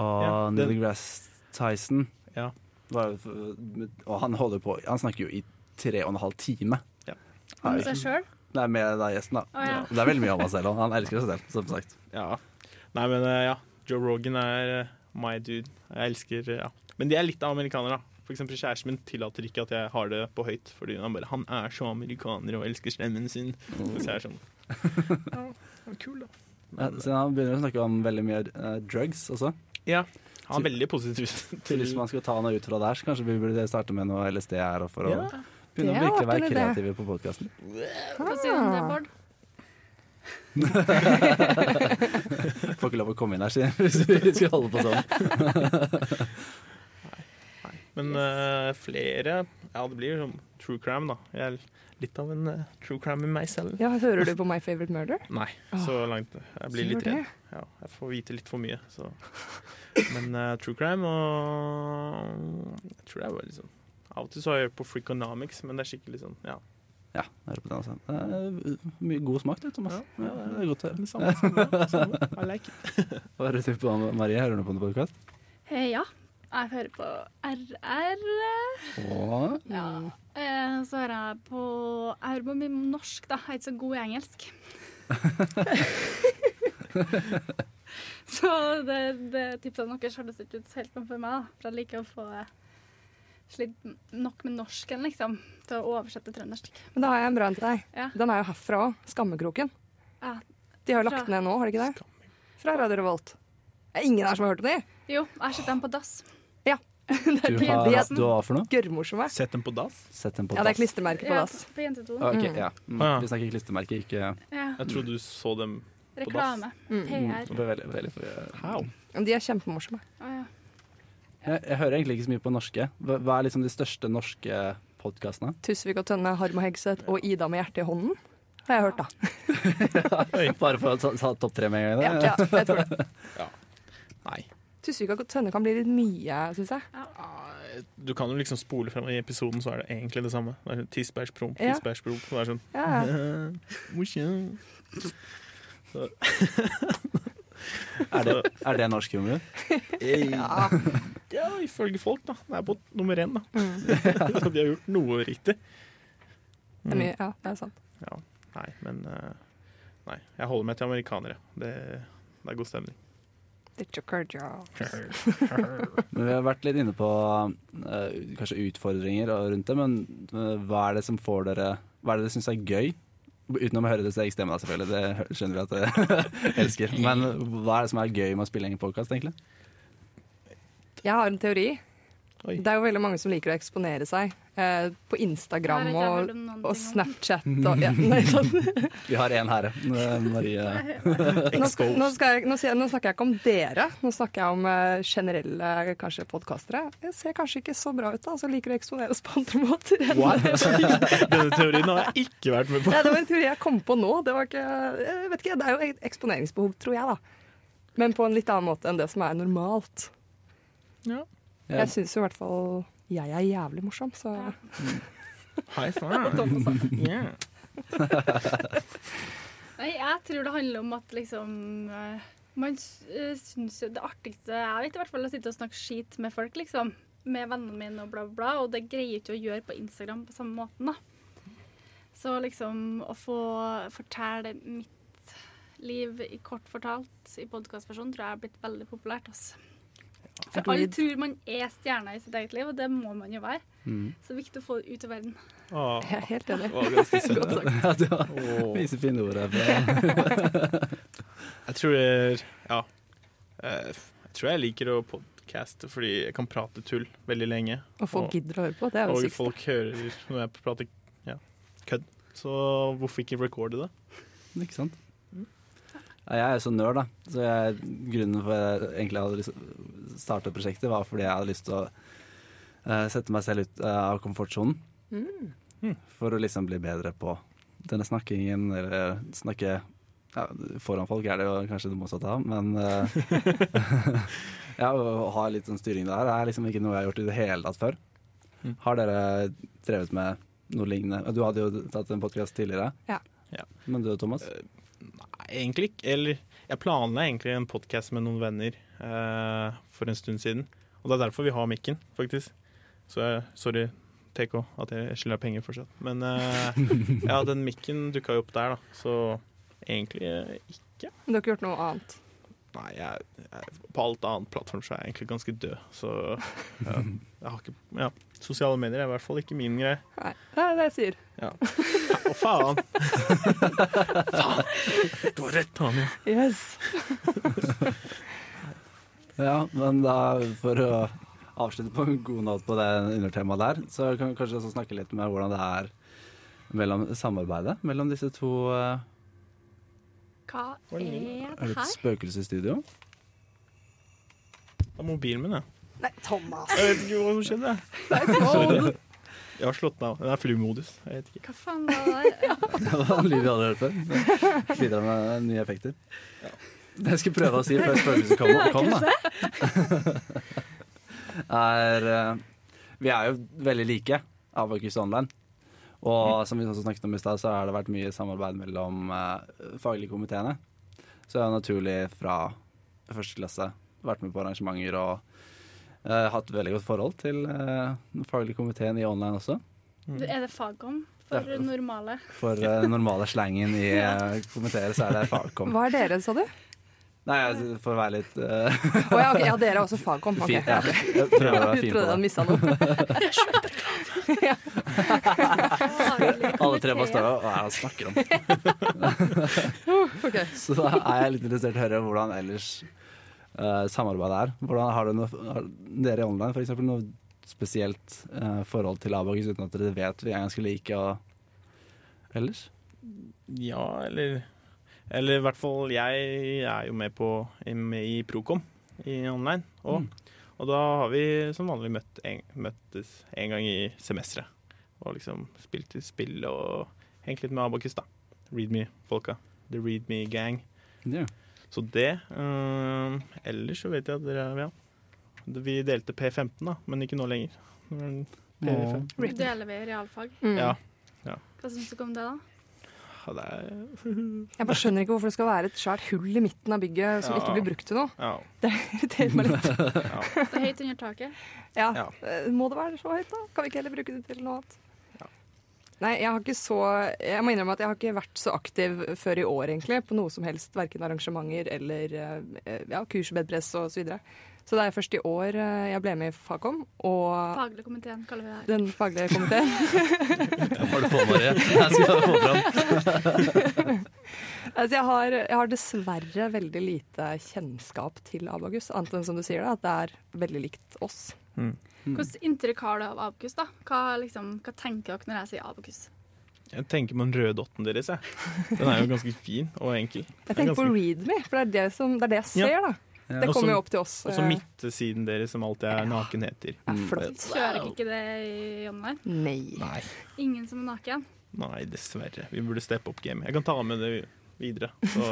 S3: og
S1: Ja,
S3: Neil
S1: den-
S3: deGrasse Tyson.
S1: Ja.
S3: Var- Og han holder på Han snakker jo i tre og en halv time.
S1: Ja.
S4: Om seg sjøl?
S3: Det er med deg, gjesten, da.
S4: Å, ja.
S3: Det er veldig mye om han selv. og Han elsker seg selv, som sagt.
S1: ja. Nei, men eh, ja. Joe Rogan er eh, my dude. Jeg elsker eh, ja. Men de er litt av amerikanere, da. For eksempel kjæresten min tillater ikke at jeg har det på høyt. Fordi han bare Han er så amerikaner og elsker stemmen sin. Så jeg er sånn Ja, det var kul, da.
S3: Ja, så han begynner å snakke om veldig mye eh, drugs også.
S1: Ja. Han er veldig positiv til
S3: Hvis man skal ta noe ut fra der, så kanskje vi burde starte med noe LSD her og for å
S1: Ja.
S3: begynne å
S2: Det
S3: virkelig
S2: var
S3: være
S2: ikke det.
S3: kreative på podkasten.
S4: Hva sier du
S2: Ah.
S4: om det, Bård?
S3: Får ikke lov å komme inn her siden hvis vi skal holde på sånn.
S1: Men eh, flere Ja, det blir jo sånn true crime, da. Jeg er litt av en eh, true crime i meg selv.
S2: Ja, hører du på My Favorite Murder? Ah,
S1: Nei, så langt. eh, Jeg blir
S2: Gjør
S1: litt redd. Ja, jeg får vite litt for mye, så Men eh, true crime og Jeg tror det er bare liksom Av og til så har jeg hørt på Freakonomics, men det er skikkelig sånn Ja.
S3: Ja, hør på den også. Det er mye god smak, du, Thomas. Ja, det er godt å høre.
S1: Det samme, samme, samme. I like it.
S3: Hva hører du på, Marie? Hører du på en podkast?
S4: Eh, ja. Jeg hører på eh, RR. Ja.
S2: Mm.
S4: Eh, så hører jeg på Jeg hører på mye norsk, da. Jeg er ikke så god i engelsk. så det, det tipsene deres hørtes ikke ut helt noe for meg, da. For jeg liker å få eh, slitt nok med norsken, liksom, til å oversette trøndersk.
S2: Men da har jeg en bra en til deg.
S4: Ja.
S2: Den er jo herfra òg. Skammekroken.
S4: Ja.
S2: De har jo
S4: Fra-
S2: lagt ned nå, har de ikke det? Fra Radio Revolt. Det er ingen her som har hørt om de.
S4: Jo, jeg setter den på dass.
S2: Det er
S3: Du
S2: de,
S3: har
S2: de
S3: hva
S2: er
S3: for noe?
S2: gørrmorsomme.
S1: Sett dem på dass?
S3: Sett den på
S2: Ja, det er
S3: dass.
S2: klistremerke på
S4: Ja,
S2: dass.
S4: på jentetonen.
S3: Ah, ok, ja. Mm,
S1: Ah, ja.
S3: Vi snakker klistremerke, ikke
S4: Ja.
S1: Jeg trodde du så dem
S4: Reklame.
S2: Mm.
S4: PR.
S3: Det ble veldig, veldig for-
S1: How?
S2: De er kjempemorsomme.
S4: Å, ja.
S3: jeg, jeg hører egentlig ikke så mye på norske. Hva, hva er liksom de største norske podkastene?
S2: Tusvik og Tønne, Harm og Hegseth og Ida med hjertet i hånden. Har jeg hørt, da.
S3: Bare for å ta, ta topp tre med en gang?
S2: Ja,
S3: da.
S2: ja, jeg tror det.
S1: Nei.
S2: Tusvik og Tønne kan bli litt mye, syns jeg.
S1: Du kan jo liksom spole frem i episoden, så er det egentlig det samme. Det er sånn Tisbergspromp,
S2: Ja.
S1: tisbergspromp. Det er sånn
S2: Ja, ja.
S1: Morsom.
S3: Er, det, er det norsk humor?
S1: Ja. ja, ifølge folk, da. Det er på nummer én, da.
S2: Mm.
S1: så de har gjort noe riktig.
S2: Det er mye, ja, det er sant.
S1: Nei, men eh, Nei, jeg holder meg til amerikanere. Det, det er god stemning.
S2: It's your cordial.
S3: Men vi har vært litt inne på eh, kanskje utfordringer og rundt det, men eh, hva er det som får dere Hva er det dere syns er gøy? Utenom å høre deres egen stemme, da, selvfølgelig. Det hø- skjønner vi at dere elsker. Men hva er det som er gøy med å spille inn podkast, egentlig?
S2: Jeg har en teori.
S1: Oi.
S2: Det er jo veldig mange som liker å eksponere seg eh, på Instagram
S4: Nei, det har jeg
S2: og,
S4: hørt om noen ting om.
S2: og Snapchat. Og, ja, nei, sånn.
S3: Vi har én herre. Marie
S2: nå, skal, nå, skal jeg, nå, sier jeg- nå snakker jeg ikke om dere, nå snakker jeg om eh, generelle kanskje podkastere. Jeg ser kanskje ikke så bra ut, da, så liker å eksponere oss på andre måter. enn-
S1: Denne teorien har jeg ikke vært med på.
S2: Ja, det var en teori jeg kom på nå. Det, var ikke, jeg vet ikke, det er jo et eksponeringsbehov, tror jeg, da. Men på en litt annen måte enn det som er normalt.
S1: Ja.
S3: Ja.
S2: Jeg syns jo i hvert fall jeg er jævlig morsom, så
S4: Ja.
S1: High five. Yeah.
S4: Nei, jeg tror det handler om at liksom eh, Man s- eh, syns jo det artigste Jeg vet i hvert fall å sitte og snakke skit med folk, liksom. Med vennene mine og bla, bla, bla. Og det greier jeg ikke å gjøre på Instagram på samme måten, da. Så liksom å få fortelle mitt liv i kort fortalt i podkastversjon tror jeg er blitt veldig populært. Altså. For alle
S2: Agreed.
S4: tror man er stjerna i sitt eget liv, og det må man jo være.
S3: Mm.
S4: Så det er viktig å få det ut i verden.
S1: Åh,
S2: jeg er helt enig.
S1: Ah, det var ganske søtt.
S2: Godt sagt.
S3: Ja, du har-
S1: Åh.
S3: viser fine ord her. fra-
S1: Jeg tror Ja. Eh, Jeg tror jeg liker å podcaste fordi jeg kan prate tull veldig lenge.
S2: Og folk gidder å høre på. Det er jo
S1: Og
S2: det sykeste.
S1: folk hører når jeg prater ja, kødd. Så hvorfor ikke recorde det?
S3: Ikke sant? Ja, jeg er jo så nerd, da. Så jeg, grunnen for at jeg egentlig hadde lyst til å starte prosjektet, var fordi jeg hadde lyst til å eh, sette meg selv ut eh, av komfortsonen. For å liksom bli bedre på denne snakkingen, eller eh, snakke ja, Foran folk er det jo kanskje det motsatte av, men eh, ja, å ha litt sånn styring der er liksom ikke noe jeg har gjort i det hele tatt før.
S1: Mm.
S3: Har dere drevet med noe lignende? Du hadde jo tatt en podkast tidligere.
S2: Ja.
S1: Ja.
S3: Men du, Thomas?
S1: Nei, egentlig ikke. Eller jeg planla egentlig en podkast med noen venner eh, for en stund siden. Og det er derfor vi har mikken, faktisk. Så jeg, sorry, TK, at jeg skylder deg penger fortsatt. Men eh, ja, den mikken dukka jo opp der, da. Så egentlig eh, ikke.
S2: Men du har ikke gjort noe annet.
S1: Nei, jeg, jeg, på alt annet plattform så er jeg egentlig ganske død. Så ja, jeg har ikke Ja, sosiale medier er i hvert fall ikke min greie.
S2: Nei, det er det jeg sier.
S1: Ja. Å, faen! faen! Du har rett, Tanja.
S2: Yes.
S3: Ja, men da for å avslutte på en god nåt på det undertemaet der, så kan vi kanskje også snakke litt med hvordan det er mellom samarbeidet mellom disse to eh,
S4: Hva er
S3: Er
S4: det
S3: det et
S4: her?
S3: spøkelsesstudio?
S1: Det er mobilen min, jeg.
S2: Nei, Thomas!
S1: Jeg vet ikke hva som skjedde. Sorry. Jeg har slått den av. Den er flymodus. Jeg vet ikke.
S4: Hva faen var det? Ja,
S3: Det var en lyd vi hadde hørt før. Det Bidrar med nye effekter. Det jeg skal prøve å si før spøkelset kom, kom da. er eh, Vi er jo veldig like, Abacus Online. Og som vi også snakket om i stad, så har det vært mye samarbeid mellom eh, faglige komiteene. Så det er jo naturlig fra første klasse vært med på arrangementer og eh, hatt veldig godt forhold til eh, den faglige komiteen i online også.
S4: du, er det fagom for
S3: Ja.
S4: normale?
S3: For eh, den normale slangen i eh, komiteer så er det fagkom.
S2: Hva er dere, sa du?
S3: Nei, altså, for å være litt eh,
S2: Å ja, ok, ja, dere er også fagkom. ok.
S3: fin. Ja,
S2: Jeg
S3: jeg prøver å
S2: trodde
S3: være fin
S2: jeg
S3: på
S2: hadde
S3: det.
S2: mista noe.
S4: Faglig
S3: Alle tre bare
S4: komité.
S3: står og hva er det han snakker om?
S2: Ok.
S3: Så da er jeg litt interessert i å høre hvordan ellers eh, samarbeidet er. Hvordan Har, du noe, har dere i online for eksempel noe spesielt eh, forhold til Abakus uten at dere vet vi er ganske like og ellers?
S1: Ja, eller Eller i hvert fall, jeg er jo med på med i Procom i online.
S3: Mm.
S1: Og, og da har vi som vanlig møtt en, møttes en gang i semesteret. Og liksom spilt litt spill og hengt litt med Abakus, da. Readme-folka. The Readme Gang.
S3: Ja.
S1: Så det. eh, ellers så vet jeg at dere ja. Vi delte P15, da, men ikke nå lenger. Men P15.
S4: Du deler ved realfag.
S2: Mm.
S1: Ja.
S4: Hva syns du om det, da?
S1: Ja, det er
S2: Jeg bare skjønner ikke hvorfor det skal være et svært hull i midten av bygget som
S1: Ja.
S2: ikke blir brukt til noe.
S1: Ja.
S2: Det irriterer meg litt.
S4: Det er høyt under taket.
S2: Ja.
S1: Ja.
S2: eh, Må det være så høyt, da? Kan vi ikke heller bruke det til noe annet? Nei, jeg har ikke så Jeg må innrømme at jeg har ikke vært så aktiv før i år, egentlig, på noe som helst, verken arrangementer eller eh, ja, kurs, bedpress og så videre. Så det er først i år eh, jeg ble med i Fagom, og
S4: Faglig komiteen kaller vi det her.
S2: den faglige komiteen.
S3: Hva var det på, Marie? Jeg skal få fram.
S2: Altså, jeg, har, jeg har dessverre veldig lite kjennskap til Abagus, annet enn som du sier det, at det er veldig likt oss.
S4: Hvilket inntrykk har du av Abakus? da? Hva, liksom, hva tenker dere når jeg sier Abakus?
S1: Jeg tenker på den røde dotten deres. Jeg. Den er jo ganske fin og enkel.
S2: Jeg tenker på
S1: Ganske-
S2: Readme, for det er det, som, det, er det jeg ser, da. Det
S1: Også-
S2: kommer jo opp til oss.
S1: Også
S2: eh,
S1: midtsiden deres, som alltid er nakenheter.
S2: er flott.
S4: Kjører dere ikke det i online?
S2: Nei.
S1: Nei.
S4: Ingen som er naken?
S1: Nei, dessverre. Vi burde steppe opp gamet. Jeg kan ta med det videre. Så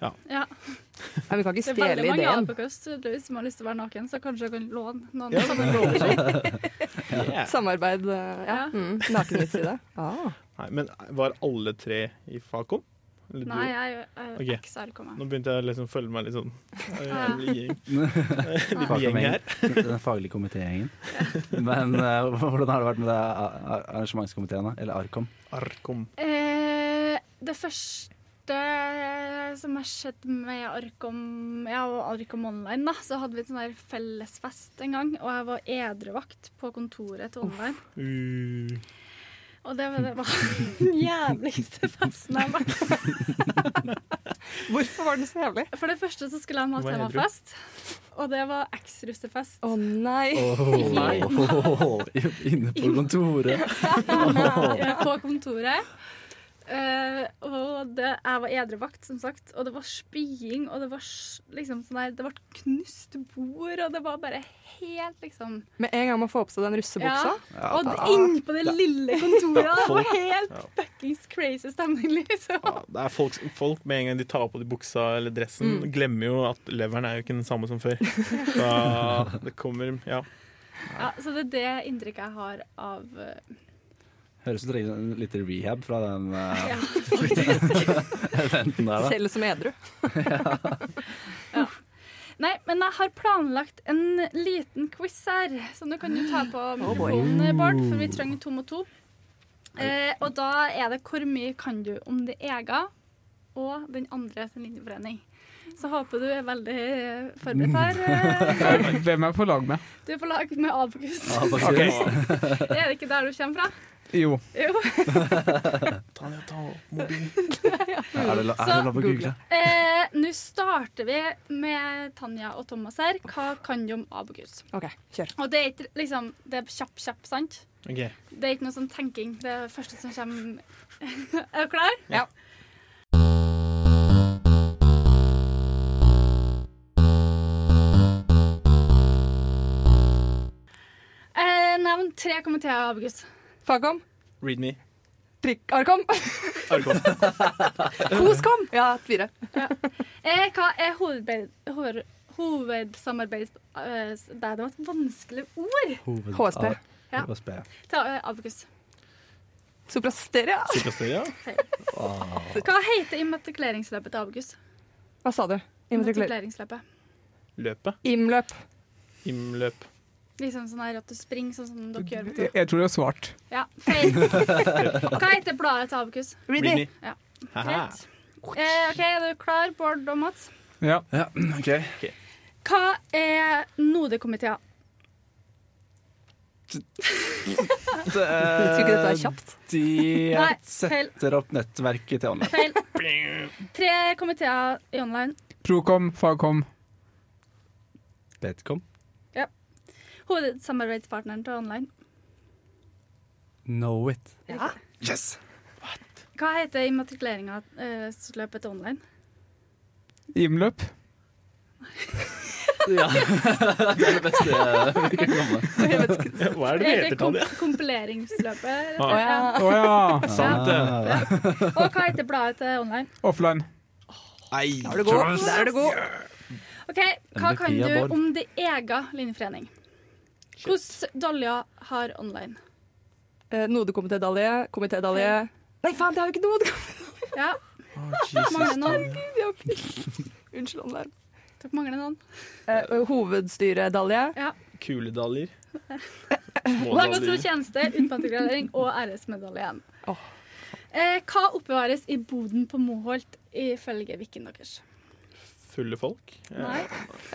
S1: ja.
S4: Ja.
S2: Men vi kan ikke
S4: Det er
S2: stjele
S4: veldig mange
S2: ideen.
S4: Abakus tydeligvis, som har lyst til å være naken, så kanskje dere kan låne noen.
S1: ja men det lover seg. Yeah.
S2: Samarbeid, eh, ja.
S4: Ja.
S2: Mm, Nakenhetside. Ah.
S1: Nei, men var alle tre i Facom? Eller du?
S4: Nei, jeg er jo jeg er
S1: Ok.
S4: jo XR, kommer jeg.
S1: Nå begynte jeg liksom å føle meg litt sånn Jeg er en gjeng. Liten gjeng her.
S3: Fagkomiteen, Den faglige komitégjengen. Men eh, hvordan har det vært med det ar- ar- arrangementskomiteen, da? Eller ARKOM?
S1: Arkom.
S4: Eh, det første som har skjedd med Arkom, ja, og Arkom Online, da, så hadde vi en sånn her fellesfest en gang, og jeg var edrevakt på kontoret til Online.
S1: Uh,
S4: Og det var, det var den jævligste festen jeg har vært på.
S2: Hvorfor var den så jævlig?
S4: For det første så skulle de ha
S1: Hva er edru?
S4: temafest, og det var eks-russefest.
S2: Å nei.
S3: Åh,
S1: Nei.
S3: åh, Oh. Inne på kontoret.
S4: eh, på kontoret. Eh, og det, jeg var edrevakt, som sagt, og det var spying, og det var s- liksom sånn her Det ble knust bord, og det var bare helt liksom
S2: Med en gang man får på seg den russebuksa.
S4: Ja. Og inn på det lille kontoret! Det var helt
S1: Ja.
S4: fuckings crazy stemning, liksom.
S1: ja, det er folk, folk med en gang de tar på de buksa eller dressen, glemmer jo at leveren er jo ikke den samme som før. Da det kommer Ja.
S4: Ja, så det er det inntrykket jeg har av eh,
S3: Høres ut som du trenger en liten rehab fra den eh,
S4: Ja,
S3: eventen der, da.
S2: Selv som edru.
S4: Nei, men jeg har planlagt en liten quiz her, som du kan jo ta på
S5: Oh,
S4: mikrofonen, Bård, for vi trenger to mot to. Eh, og da er det hvor mye kan du om det egen og den andre sin linjeforening. Så håper du er veldig eh, forberedt her. eh.
S5: Hvem er jeg på lag med?
S4: Du er på lag med Abakus.
S3: Ah, faktisk.
S1: Ok.
S4: Er det ikke der du kommer fra?
S5: Jo.
S4: Jo.
S1: Tanja, ta mobilen.
S3: Er det, lo- er det
S4: Så-
S3: lov å
S2: Google.
S3: google?
S4: Eh, Nå starter vi med Tanja og Thomas her. Hva kan de om abokus?
S2: OK, kjør.
S4: Og det er ikke liksom Det er kjapp, kjapp, sant?
S1: Ok,
S4: Det er ikke noe sånn tenking. Det er det første som kommer. er du klar?
S1: Ja.
S4: Eh, nevn tre kommentarer, August.
S2: Fagkom.
S1: Read me.
S2: Prikk. Arkom.
S1: Arkom.
S2: Koskom. Ja, fire.
S4: Eh, hva er hovedbe- hoved, hovedsamarbeids... eh, s- det var et vanskelig ord.
S3: Hoved-
S2: HSB.
S4: Ja.
S3: HSB.
S4: Ta eh, August.
S2: Soprasteria.
S1: Psykasteria.
S4: Hva heter immatrikuleringsløpet til August?
S2: Hva sa du? Immatrikuler-
S4: Immatrikuleringsløpet.
S1: Løpet.
S2: Imløp.
S1: Imløp.
S4: Liksom sånn her at du springer sånn som dere gjør. vet
S5: Jeg,
S4: du.
S5: jeg tror det var svart.
S4: Ja, feil. Hva heter bladet til August?
S1: Read me.
S4: Ja.
S1: Haha.
S4: Greit. Eh, OK, er du klar, Bård og Mats?
S5: Ja.
S3: Ja, OK.
S4: Hva er nodekomiteer?
S2: Skulle ikke dette være kjapt?
S3: eh, De
S4: Nei, feil.
S3: setter opp nettverket til online.
S4: Feil. Tre komiteer i online.
S5: Procom, Fagkom,
S3: Betcom.
S4: Hovedsamarbeidspartneren til online.
S3: Know it.
S2: Ja.
S3: Yes!
S4: Hva heter immatrikuleringa eh, løpet til online?
S5: Imløp.
S3: Ja. det er det beste vi kan komme med.
S1: Hva er det det heter, Tanja?
S4: kom- kompileringsløpet.
S1: Ah.
S2: Å ja.
S5: Å ja!
S1: Sant det.
S4: Og hva heter bladet til online?
S5: Offline.
S2: Da er du god. Da er du god.
S4: Ok, Hva
S3: MVP
S4: kan
S3: av
S4: du
S3: Bård.
S4: om din egen linjeforening? Hvordan Dolja har online?
S2: Eh, Nodekomitédalje. Komitédalje. Nei, faen, det er jo ikke nodekomitédalje!
S4: Ja, mangler noen.
S2: Unnskyld, Anne-Larm.
S4: Dere mangler noen.
S2: Eh, Hovedstyredalje.
S1: Kuledaljer.
S4: Lang og tro
S1: Smådaljer.
S4: tjeneste, utmatrikulering og RS-medalje igjen.
S2: Åh.
S4: Eh, hva oppbevares i boden på Moholt ifølge Vikken deres?
S1: Fulle folk.
S4: Nei.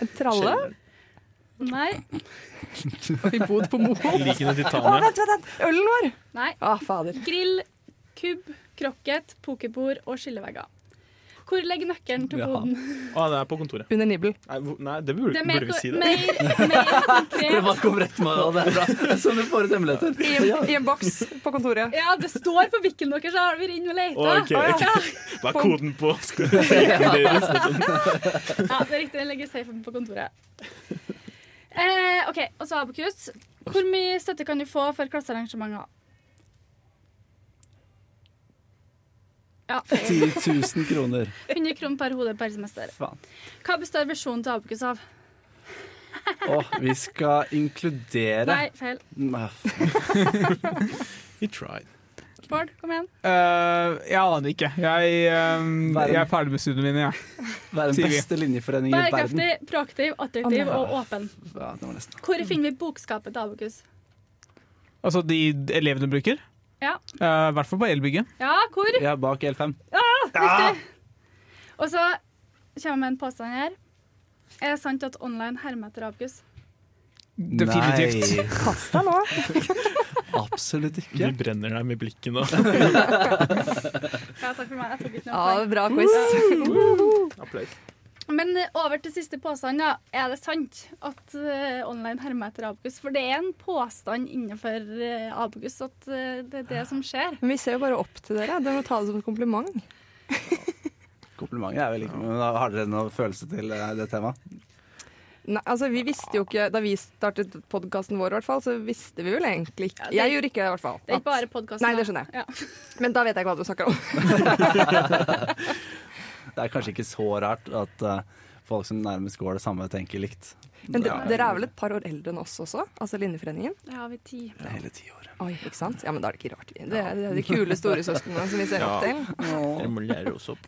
S2: En tralle.
S4: Nei.
S2: Vi bodde på Moholt.
S1: Likene til
S2: Å,
S1: Tanja.
S2: vent, vent, vent! Ølen vår!
S4: Nei.
S2: Å, fader.
S4: Grill, kubb, krokket, pokerbord og skillevegger. Hvor ligger nøkkelen til
S3: Ja.
S4: boden?
S1: Å, det er på kontoret.
S2: Under nibbel.
S1: Nei, hvor- nei det burde,
S4: Det er mer,
S1: burde vi si. det.
S4: mer, mer
S3: Det
S4: konkret.
S3: bare kom rett med det, og det er bra. Det er sånn du får ut hemmeligheter.
S2: I, en- I en boks på kontoret.
S4: Ja, det står på Vikken deres, så har vi vært inne og leita.
S1: Ok, ok. Hva er koden på
S4: Ja, det er riktig, den ligger i safen på kontoret. Eh, OK, og så Abokus. Hvor mye støtte kan du få for klassearrangementer? Ja,
S3: 10 000 kroner.
S4: 100 kroner per hode per semester.
S3: Faen.
S4: Hva består visjonen til Abokus av?
S3: Å, vi skal inkludere
S4: Nei, feil.
S3: Nei, f-
S1: We tried.
S4: Bård, kom igjen.
S5: Eh, jeg aner ikke. Jeg, eh,
S3: Verden.
S5: jeg er ferdig med studiene mine, jeg.
S3: Være
S5: Sier
S3: den
S5: vi.
S3: beste linjeforeningen i verden.
S4: Bærekraftig, proaktiv, attraktiv og åpen.
S3: Ja, det var nesten.
S4: Hvor finner vi bokskapet til Abokus?
S5: Altså de elevene bruker.
S4: Ja.
S5: Eh, I hvert fall på elbygget.
S4: Ja, hvor?
S3: Ja, bak L5.
S4: Riktig. Og så kommer jeg med en påstand her. Er det sant at online hermer etter Abokus?
S5: Definitivt.
S3: Nei,
S2: Pass deg nå.
S3: absolutt
S1: Du
S3: ikke.
S1: brenner deg med blikket nå.
S4: Ja, takk for meg. Jeg tok ikke noe
S2: Ja, bra quiz.
S1: Applaus.
S4: poeng. Men eh, over til siste påstand. da. Er det sant at eh, online hermer etter Abokus? For det er en påstand innenfor uh, Abokus at eh, det er det som skjer.
S2: Men vi ser jo bare opp til dere. Dere må ta det som et kompliment.
S3: Komplimentet er vel ikke Men da har dere noe følelse til eh, det temaet?
S2: Nei, altså vi visste jo ikke, Da vi startet podkasten vår, i hvert fall, så visste vi vel egentlig ikke
S4: Ja, det-
S2: Jeg gjorde ikke det, i hvert fall.
S4: Det er ikke
S2: at-
S4: bare podkasten.
S2: Nei, det skjønner jeg.
S4: Ja.
S2: Men da vet jeg ikke hva du snakker om.
S3: Det er kanskje ikke så rart at eh, folk som nærmest går det samme, tenker likt.
S2: Men de,
S3: Ja.
S2: dere er vel et par år eldre enn oss også? Altså Linjeforeningen?
S4: Ja, vi ti.
S3: Det er Hele ti år.
S2: Oi, ikke sant? Ja, men da er det ikke rart. vi- Det er, det er de kule storesøsknene som vi ser opp til.
S1: Dere må lære oss opp.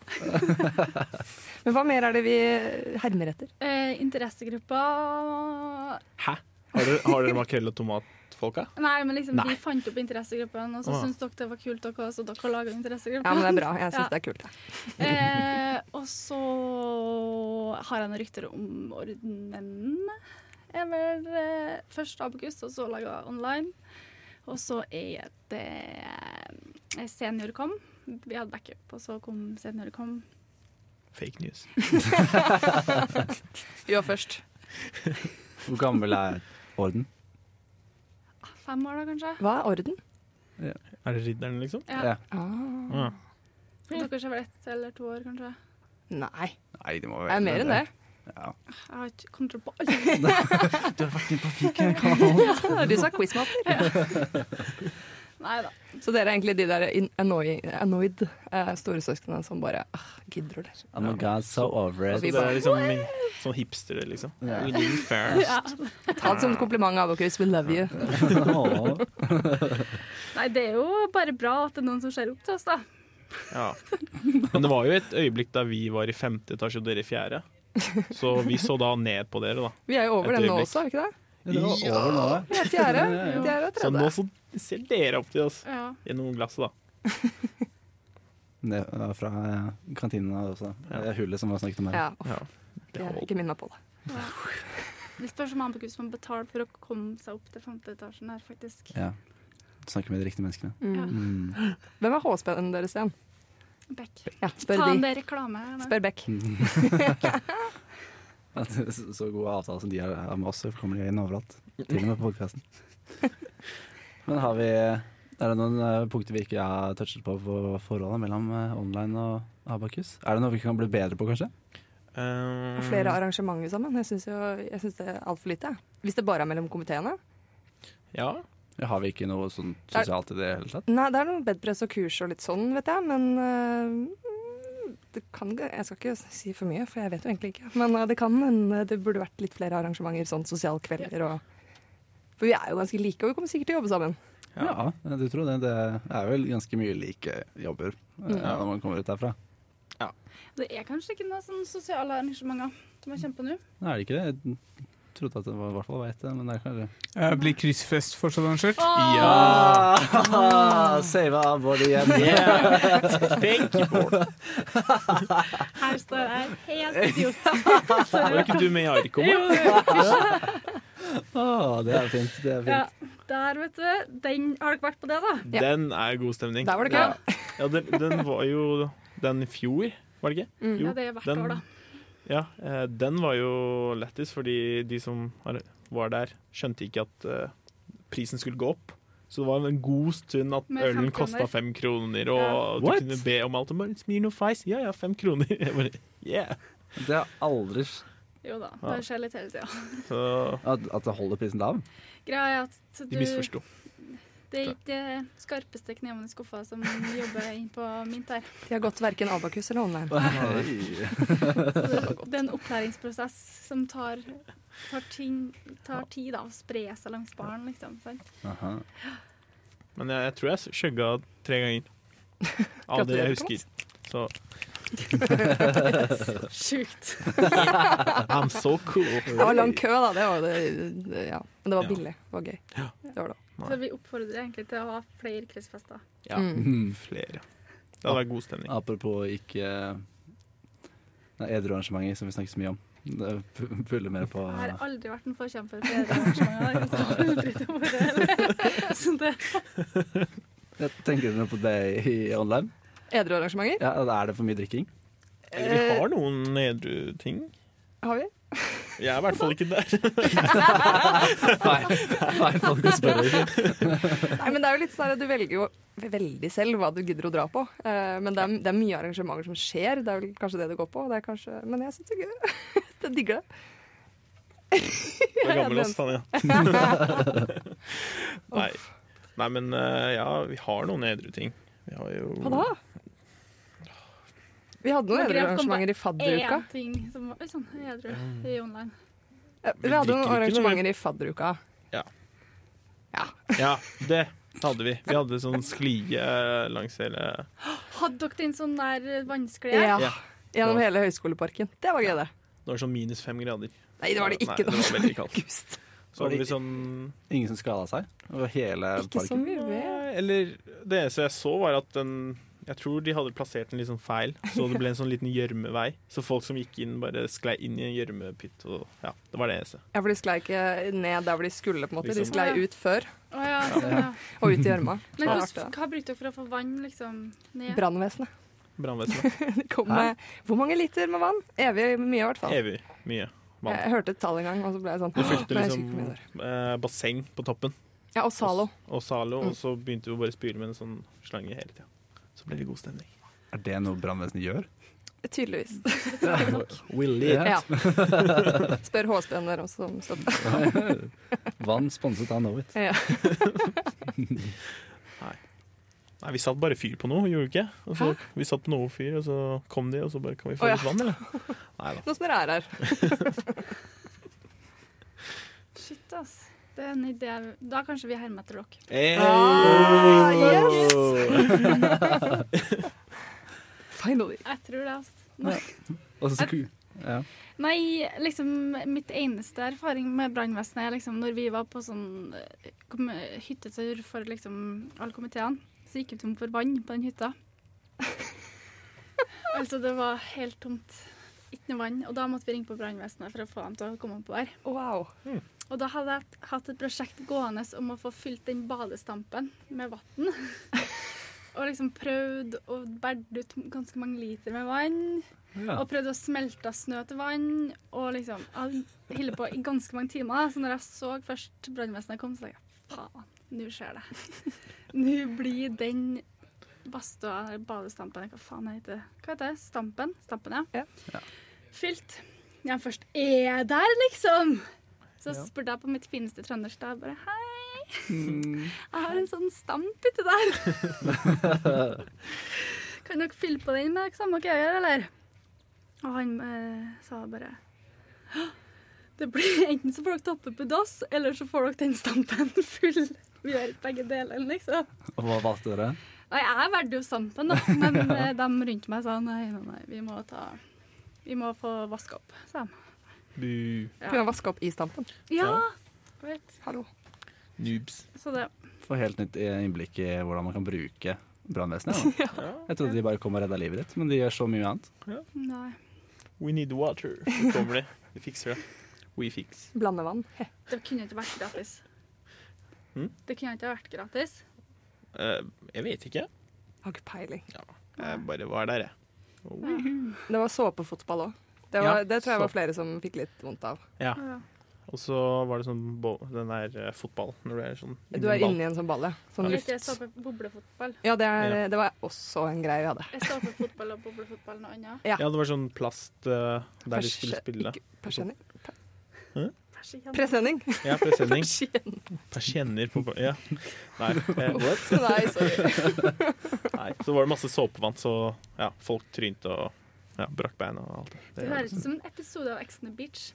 S2: Men hva mer er det vi hermer etter?
S4: Eh, interessegruppa
S1: Hæ? Har dere, har dere makrell og tomatfolka?
S4: Nei, men liksom,
S1: Nei.
S4: vi fant opp interessegruppene, og så
S1: Å.
S4: syntes dere det var kult, dere, så dere laga interessegruppa.
S2: Ja, men det er bra. Jeg syns
S4: Ja.
S2: det er kult. jeg.
S4: Eh, og så har jeg noen rykter om ordenen. Jeg vel eh, først Abokus, og så laga online. Og så er det eh, seniorkom. Vi hadde backup, og så kom seniorkom.
S1: Fake news.
S2: Vi var først.
S3: Hvor gammel er orden?
S4: Fem år, da, kanskje.
S2: Hva er orden?
S1: Er det ridderen, liksom?
S4: Ja.
S3: Ja.
S2: Ah.
S1: Ah.
S4: Dere er vel ett eller to år, kanskje.
S2: Nei,
S3: Nei, det må
S2: det er mer enn det.
S3: Ja.
S4: Jeg har ikke kontroll på alle.
S3: Du har vært inne på fiken.
S2: Du sa quizmaster.
S4: Nei da.
S2: Så dere er egentlig de der in- annoy- annoyed eh, storesøsknene som bare ah, Gidder du det?
S3: I'm a god, so over
S1: Så
S2: Vi
S1: det
S3: it.
S2: bare-
S1: er liksom min- sånn hipstere, liksom.
S3: Ja.
S1: We do first.
S4: Ja.
S2: Ta det som en kompliment, Abokus. We love you.
S3: Åh.
S4: Nei, det er jo bare bra at det er noen som ser opp til oss, da.
S1: Ja. Men det var jo et øyeblikk da vi var i femte etasje og dere i fjerde. Så vi så da ned på dere, da.
S2: Vi er jo over
S1: Et
S2: den nå
S1: øyeblikk.
S2: også, er vi ikke det?
S3: Det var over nå. da.
S2: Vi er fjerde,
S3: Ja, ja.
S2: vi er
S1: Så nå
S2: tredje.
S1: så ser dere opp til oss
S4: Ja.
S1: gjennom glasset, da.
S3: Det var fra eh, kantinen også. Det hullet som vi har snakket om her.
S2: Ja, uff,
S1: Ja.
S2: jeg
S1: Det
S2: er
S1: holdt.
S2: ikke minn meg på det.
S4: Det spørs om han på kurset må betale for å komme seg opp til femte etasjen her, faktisk.
S3: Ja. Snakker med de riktige menneskene.
S4: Ja.
S3: Mm.
S2: Hvem er HSP-en deres igjen?
S4: Beck.
S2: Ja, spør
S4: Faen,
S2: de.
S4: det er reklame. da.
S2: Spør Beck.
S3: At det er så så god avtale som de har har med oss, så kommer de inn overalt. Til og med på podkasten. Men har vi er det noen eh, punkter vi ikke har touchet på på forholdet mellom eh, online og Abakus? Er det noe vi kan bli bedre på, kanskje?
S1: Eh,
S2: Og flere arrangementer sammen. Jeg syns det er altfor lite. jeg. Hvis det bare er mellom komiteene.
S1: Ja.
S3: Ja, Har vi ikke noe sånn sosialt i det hele tatt?
S2: Nei, det er noen bedpress og kurs og litt sånn, vet jeg, men øh, det kan, Jeg skal ikke si for mye, for jeg vet jo egentlig ikke. Men øh, det kan hende det burde vært litt flere arrangementer, sånn sosialkvelder og For vi er jo ganske like, og vi kommer sikkert til å jobbe sammen.
S3: Ja, du tror det. Det er vel ganske mye like jobber eh, når man kommer ut derfra.
S4: Det er kanskje ikke noen sånne sosiale arrangementer som jeg kommer på nå.
S3: Nei, er det ikke det? Jeg trodde at det var, i hvert fall var ett, men det er kanskje
S5: Eh, Blir kryssfest fortsatt arrangert?
S3: Ja! Sava Bård igjen.
S1: Yeah. Thank you, Bård.
S4: Her står jeg helt idiot.
S1: Var ikke du med i Arko?
S4: Jo,
S1: Bård?
S4: jo.
S3: Å, det er fint. Det er
S4: Ja,
S3: fint.
S4: der, vet du. Den, har dere vært på det, da?
S2: Ja.
S1: Den er god stemning.
S2: Der var det kø.
S1: Ja, den, den var jo den i fjor, var det ikke?
S2: Mm.
S1: Jo,
S4: Ja, det er hvert
S1: den-
S4: år, da.
S1: Ja, eh, den var jo lettest, fordi de som har- var der, skjønte ikke at eh, prisen skulle gå opp. Så det var en god stund at
S4: Med fem kroner.
S1: ølen kosta fem kroner, og
S4: Ja.
S1: du
S3: What?
S1: kunne be om alt. Og bare, Smirnoff Ice, ja ja, fem kroner. Jeg bare, yeah.
S3: Det er aldri s-
S4: Jo da, det skjer litt hele tida.
S1: Så
S3: at, at det holder prisen lav.
S4: Greia er at
S1: de
S4: du,
S1: misforsto.
S4: det er ikke de skarpeste knevene i skuffa som jobber inn på mint her.
S2: De har gått verken Abakus eller online.
S4: Så Det, det er en opplæringsprosess som tar, tar, ting, tar tid, da, og sprer seg langs baren, liksom. Sant?
S3: Aha.
S1: Men jeg, jeg tror jeg skjøgga tre ganger. Av det
S2: Gratulerer,
S1: jeg husker. Så
S4: Sjukt.
S1: I'm so cool.
S2: Det var lang kø, da. Det var jo det, det- ja. Men det var
S1: Ja.
S2: billig. Det var gøy. Det var det.
S4: Så vi oppfordrer egentlig til å ha flere kryssfester.
S1: Ja,
S2: Mm.
S1: flere. Det hadde vært god stemning.
S3: Apropos ikke Nei, edru arrangementer, som vi snakker så mye om. Det pu- puller mer på
S4: Jeg har aldri vært en forkjemper for det arrangementet. Så det
S3: Jeg tenker dere på det i online?
S2: Edru arrangementer
S3: Ja, Er det for mye drikking?
S1: Eller vi
S2: Eh.
S1: har noen edru ting.
S2: har vi.
S1: Jeg er i hvert fall ikke der.
S3: Feil feil folk å spørre. ikke?
S2: Nei, men det er jo litt sånn at Du velger jo veldig selv hva du gidder å dra på. Eh, men det er, det er mye arrangementer som skjer. Det er vel kanskje det det går på. Det er kanskje, men jeg syns det er gøy. Jeg digger det.
S1: Du er gammel
S2: den-
S1: også, Tanja. Nei. Nei, men eh, ja, vi har noen edru ting. Vi har jo
S2: Hva da? Vi hadde noen
S4: Men
S2: edru
S4: Grete kom på
S2: arrangementer i fadderuka.
S4: én ting som var Oi sann, jeg tror i online.
S2: Eh,
S1: Vi
S2: Vi hadde noen
S1: drikker ikke, men
S2: arrangementer i fadderuka.
S1: Ja, det hadde vi. Vi hadde sånn sklie eh, langs hele
S4: Hadde dere den sånn der vannsklede?
S2: Ja.
S1: Ja.
S2: Gjennom hele Høgskoleparken. Det var gøy, det.
S1: Det var sånn minus fem grader.
S2: Nei, det var sånn det
S1: Nei,
S2: ikke.
S1: det var veldig kaldt.
S2: August.
S1: Så hadde vi sånn
S3: Ingen som skada seg? Og hele
S2: Ikke
S3: parken?
S1: Eh,
S2: som vi vet.
S1: Eller det eneste jeg så, var at den Jeg tror de hadde plassert den litt sånn feil, så det ble en sånn liten gjørmevei. Så folk som gikk inn, bare sklei inn i en gjørmepytt. og Ja, det var det eneste.
S2: Ja, for de sklei ikke ned der hvor de skulle, på en måte. De
S1: Liksom.
S2: sklei ut før
S4: Å ja, sånn, ja.
S2: og ut i gjørma.
S4: Men
S2: Ja.
S4: hvordan, hva brukte dere for å få vann liksom, ned?
S2: Brannvesenet.
S1: Brannvesenet.
S2: De kom med hvor mange liter med vann? Evig mye, i hvert fall.
S1: Evig mye vann.
S2: Jeg hørte et tall en gang, og så ble jeg sånn
S1: Du fylte
S2: «Nei, jeg husker ikke
S1: liksom
S2: hvor mye det var».
S1: eh, basseng på toppen
S2: Ja, og Zalo.
S1: og Zalo,
S2: Mm.
S1: og så begynte vi å bare spyle med en sånn slange hele tida. Så ble det god stemning.
S3: Er det noe brannvesenet gjør?
S2: Tydeligvis.
S3: Willy.
S2: Ja. Spør HSB-en der også om støtte.
S3: Vann sponset av Knowit.
S2: Ja.
S1: Nei, vi satt bare fyr på noe, gjorde vi ikke? Og så, vi satt på noe fyr, og så kom de, og så bare Kan vi få
S2: Å, ja.
S1: litt vann, eller? Nei da.
S2: Nå som dere er her.
S4: Shit, ass. Det er en idé. Da kanskje vi hermer etter dere.
S2: Ah, Finally.
S4: Jeg tror det, ass.
S3: Og så sku... Ja.
S4: Nei, liksom mitt eneste erfaring med brannvesenet er liksom når vi var på sånn eh, kom- hyttetur for liksom alle komiteene, så gikk vi tom for vann på den hytta. altså, det var helt tomt. Ikke noe vann. Og da måtte vi ringe på brannvesenet for å få dem til å komme på her.
S2: Wow.
S4: Og da hadde jeg hatt et prosjekt gående om å få fylt den badestampen med vann. og liksom prøvd å bære ut ganske mange liter med vann.
S3: Ja.
S4: Og prøvde å smelte snø til vann. Og liksom Jeg holdt på i ganske mange timer. Så når jeg så først brannvesenet kom, så tenkte jeg faen, nå skjer det. nå blir den badstua, eller badestampen, hva faen heter det? Hva heter det? Stampen? Stampen, ja.
S2: Ja.
S4: Fylt. Når jeg først er der, liksom. Så spurte jeg på mitt fineste trøndersk da, jeg bare hei,
S3: Mm.
S4: jeg har en sånn stamp uti der. kan dere fylle på den med samme hva jeg gjør, eller? Og han eh, sa bare «Hå, det blir enten så får dere toppe på dass, eller så får dere den stampen full. Vi gjør begge delene, liksom.
S3: Og hva valgte dere?
S4: Nei, jeg valgte jo stampen, da, men eh, de rundt meg sa nei, nei, nei, vi må ta Vi må få vaska opp, sa de.
S1: Bu.
S2: Kunne vaske opp i stampen.
S4: Ja, vet.
S2: Hallo.
S1: Noobs.
S4: Så det
S3: Få helt nytt eh, innblikk i hvordan man kan bruke brannvesenet. da. Jeg trodde de bare kom og redda livet ditt, men de gjør så mye annet.
S4: Nei.
S1: We need water. Så kommer de. De fikser det. We fix.
S2: Blande vann. He.
S4: Det kunne ikke vært gratis.
S1: Mm?
S4: Det kunne ikke vært gratis.
S1: Eh, jeg vet ikke.
S2: Har ikke peiling.
S1: Jeg bare var der, jeg. Og-
S2: Det var såpefotball òg. Det,
S1: Ja,
S2: var- det tror jeg var
S1: såpe.
S2: flere som fikk litt vondt av.
S1: Ja.
S4: Ja.
S1: Og så var det sånn bo den der eh, fotball når du er sånn
S2: Du er inni en sånn ball, ja. Sånn
S1: Ja.
S2: luft.
S4: Ikke såpe boblefotball.
S2: Ja, det, er,
S1: Ja.
S2: det var også en greie vi hadde.
S4: Jeg står for fotball og boblefotball noe annet.
S1: Ja, det var sånn plast eh, der de skulle
S2: Perse-
S1: spille.
S2: ikke- Persenning?
S4: Vær så snill.
S2: Presenning.
S1: Ja, presenning.
S2: Persien.
S1: Persienner på Ja. Nei. eh,
S2: Nei, sorry.
S1: nei. Så var det masse såpevann, så ja, folk trynte og ja, brakk bein og alt det.
S4: Det høres ut som en episode av Ex on the Beach.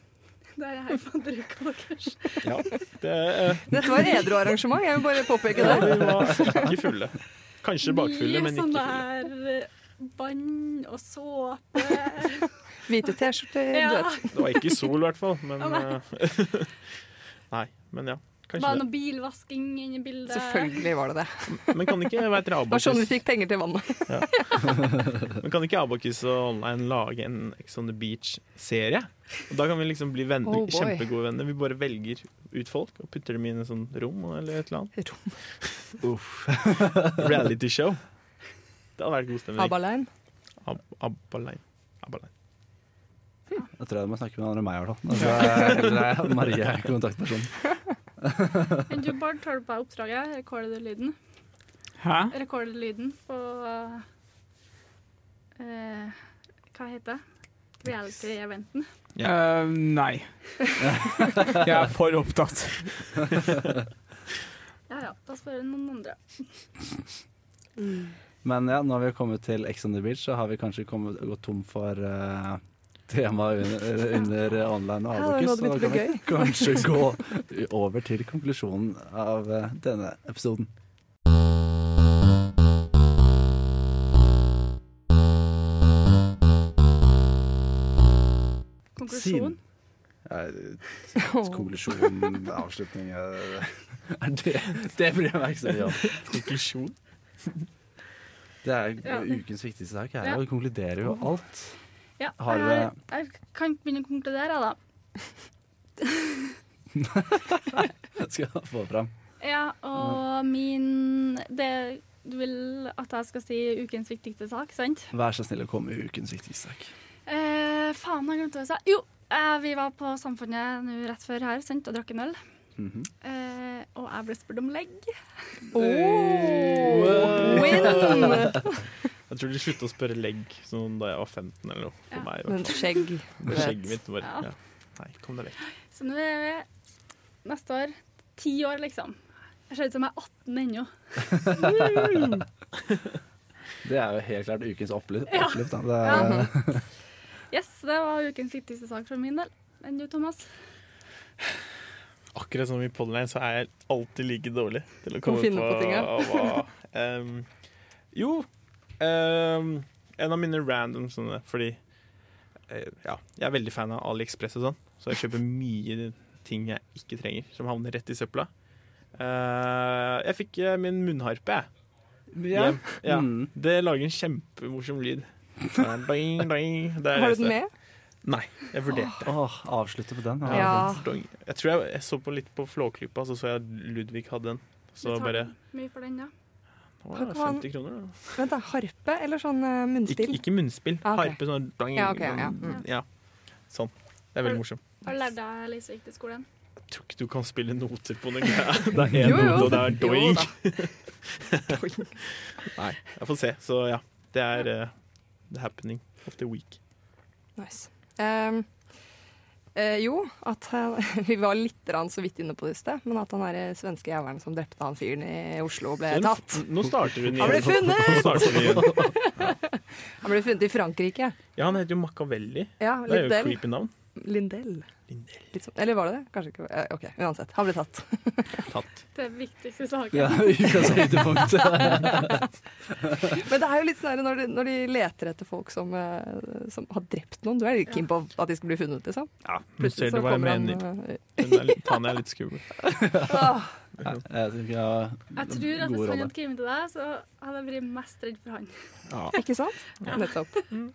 S4: Der jeg her på bruk av kurs.
S1: Ja, det, eh,
S2: Dette var edru arrangement, jeg vil bare påpeke
S1: ja,
S2: det.
S1: de var ikke fulle. Kanskje bakfulle, men ikke
S4: sånn
S1: fulle.
S4: der eh, vann og såpe.
S2: Hvite T-skjorter, du
S4: ja.
S2: vet.
S1: Det var ikke i sol, i hvert fall. Men,
S4: Å, nei.
S1: eh, nei, men ja. Kanskje
S4: Var
S1: det.
S4: noe bilvasking inni bildet.
S2: Selvfølgelig var det det.
S1: Men kan ikke vet dere,
S2: Det var sånn vi
S1: Abacus,
S2: fikk penger til vannet.
S1: men kan ikke Abacus og Online lage en Ex on the Beach-serie? Og Da kan vi liksom bli venner,
S2: Oh, boy.
S1: kjempegode venner. Vi bare velger ut folk og putter dem inn i en sånn rom eller et eller annet.
S2: Rom.
S1: Reality show. Det hadde vært god stemning.
S2: Abalein.
S1: Ab Abalein. Abalein.
S3: Da tror jeg du må snakke med noen andre enn meg, i hvert fall. Altså, eller er Marie er kontaktpersonen.
S4: Men du, Bård, tar du på deg oppdraget? Rekorder du lyden?
S5: Hæ?
S4: Rekorder du lyden på eh, Hva heter det? Reality-eventen.
S5: Eh, nei. Jeg er for opptatt.
S4: Ja ja, da spør jeg noen andre.
S3: Men ja, når vi har kommet til Ex on the Beach, så har vi kanskje kommet, gått tom for eh, temaet under, under online og
S2: Ja, det
S3: Abacus.
S2: hadde
S3: så da
S2: blitt
S3: kan vi kanskje gå over til konklusjonen av eh, denne episoden.
S4: Konklusjon.
S3: Siden- Ja,
S2: Åh.
S3: konklusjon, avslutning eh, er det, det blir jeg oppmerksom på.
S1: Konklusjon.
S3: Det er
S4: Ja.
S3: ukens viktigste sak. Her,
S4: Ja.
S3: og det konkluderer jo alt.
S4: Ja,
S3: Har
S4: jeg, har- jeg kan ikke begynne å konkludere, da.
S3: Skal jeg få fram.
S4: Ja, og min Det du vil at jeg skal si ukens viktigste sak, sant?
S3: Vær så snill å komme med ukens viktigste sak.
S4: Eh, faen, jeg glemte hva jeg sa. Jo, eh, vi var på Samfunnet nå rett før her sant, og drakk en øl.
S3: Mhm.
S4: Eh, og jeg ble spurt om legg.
S2: Åh, win!
S1: Jeg tror de sluttet å spørre legg sånn da jeg var 15 eller noe. For
S4: Ja.
S1: meg, i
S2: Men
S1: hvert fall.
S2: skjegg.
S1: Det skjegget mitt bare
S4: Ja.
S1: ja. Nei, kom deg vekk.
S4: Så nå er vi neste år ti år, liksom. Jeg ser ut som jeg er 18 ennå.
S3: Det er jo helt klart ukens opplyft.
S4: Ja.
S3: opplyft da. Det er,
S4: Ja. Yes, det var ukens viktigste sak for min del. Enn du, Thomas?
S1: Akkurat som i Podline så er jeg alltid like dårlig til å komme
S2: finne
S1: på,
S2: på ting, ja.
S1: hva em, Jo, em, en av mine random sånne Fordi eh, ja, jeg er veldig fan av AliExpress og sånn, så jeg kjøper mye ting jeg ikke trenger, som havner rett i søpla. Eh, jeg fikk eh, min munnharpe, jeg.
S3: Ja.
S1: Hjem. Ja.
S3: Mm.
S1: Det lager en kjempemorsom lyd. Doing, doing. Det er
S2: Har
S1: det
S2: du den med?
S1: Nei, jeg vurderte.
S3: Åh, avslutte på den.
S2: Ja.
S1: Dong. Jeg tror jeg, jeg så på litt på Flåklypa, så så jeg at Ludvig hadde en. Så
S4: Betaler
S1: bare
S4: Mye for den, ja.
S1: Å, ja,
S2: Hva kan han-
S1: 50 kroner, da.
S2: Vent, da. Harpe eller sånn eh,
S1: Ikke,
S2: munnspill?
S1: ikke munnspill.
S2: Ah, ok.
S1: Harpe sånn dang,
S2: Ja, ok, ja. mm.
S1: dang. Ja. Sånn. Det er veldig morsomt.
S4: Har du lært deg Lise gikk til skolen?
S1: Jeg tror ikke du kan spille noter på den greia. Det er én
S2: Jo, jo.
S1: note, og det er
S2: Jo
S1: doing.
S2: da.
S1: Nei, jeg får se. Så ja. Det er eh, the happening of the week.
S2: Nice. Ehm, eh, jo, at han- vi var litt rann så vidt inne på det i sted, men at han derre svenske jævelen som drepte han fyren i Oslo, ble
S1: Nå-
S2: tatt.
S1: Nå starter vi
S2: Han ble
S1: igjen.
S2: funnet!
S1: Nå starter vi igjen.
S2: Han ble funnet i Frankrike.
S1: Ja, han heter jo Machiavelli.
S2: Ja,
S1: Det er jo et
S2: Lindell.
S1: creepy navn.
S2: Lindell.
S1: Lindell.
S2: Litt sånn- Eller var det det? Kanskje ikke. eh, OK, uansett. Han ble tatt.
S1: Tatt.
S4: Det er viktigste saken.
S3: Ja, ukas høydepunkt.
S2: Men det er jo litt sånn her når, de- når de leter etter folk som, eh, som har drept noen. Du er litt keen på at de skal bli funnet, liksom.
S1: Ja, nå
S2: Plutselig
S1: ser
S2: så
S1: du hva jeg
S2: kommer han,
S1: mener.
S2: eh,
S1: Hun er litt- Han er litt skummel.
S2: Åh,
S3: Nei, Jeg tror ikke jeg har
S4: Jeg tror at
S3: gode
S4: hvis
S3: råd
S4: han
S3: der.
S4: hadde skrevet til deg, så hadde jeg vært mest redd for han.
S2: ikke sant? Nettopp.
S3: Mm.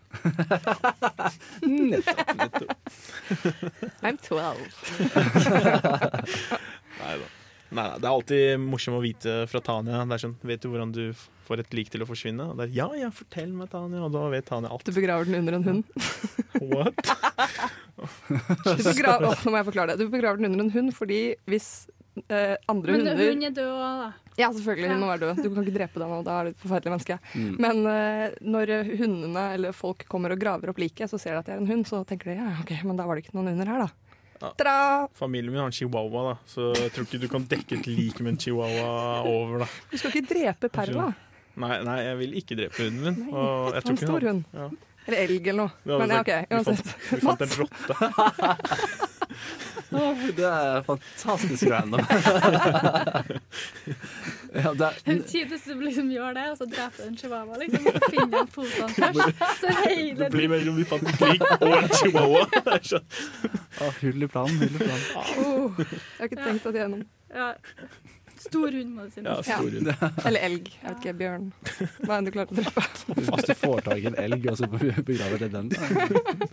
S2: I'm 12.
S1: Nei da. Nei, nei, det er alltid morsomt å vite fra Tanja. Det er sånn, Vet du hvordan du f- får et lik til å forsvinne? Og det er, ja, ja, fortell meg, Tanja. Og da vet Tanja alt.
S2: Du begraver den under en hund.
S1: What?
S2: Du begra- Åh, nå må jeg forklare det. Du begraver den under en hund fordi hvis eh, andre
S4: Men
S2: hunder
S4: hun er død òg, da.
S2: Ja, selvfølgelig, hun
S4: Ja.
S2: må være død. Du kan ikke drepe den, og da er du et forferdelig menneske. Men eh, når hundene eller folk kommer og graver opp liket, så ser de at det er en hund, så tenker de ja, ok, men da var det ikke noen hunder her, da.
S1: Ja.
S2: Ta-da!
S1: Familien min har en chihuahua, da, så jeg tror ikke du kan dekke et lik med en chihuahua over. da.
S2: Du skal ikke drepe Perla.
S1: Nei, nei jeg vil ikke drepe hunden min.
S2: Nei,
S1: Og jeg
S2: ta en
S1: tror ikke
S2: stor hund.
S1: Ja.
S2: Eller elg eller noe.
S1: Vi hadde
S2: Men ja, OK,
S1: sagt, vi fant-
S2: uansett.
S1: Vi fant en rotte.
S3: Åh, Det er fantastisk random. ja, det er,
S4: Hun kjipeste som liksom gjør det, og så dreper hun chihuahua, liksom. Og så finner han fotene først. Så hele
S1: Det blir mellom vi fant et lik og en chihuahua. Det er sånn.
S3: å, hull i planen, hull i planen.
S2: Åh, Oh, jeg har ikke
S4: Ja.
S2: tenkt at jeg er noen.
S4: ja. Stor hund må du si.
S1: Ja, stor hund.
S2: Eller elg. Jeg vet ikke, bjørn. Hva enn du klarte å drepe.
S3: Hvis du får tak i en elg, og så begraver du den.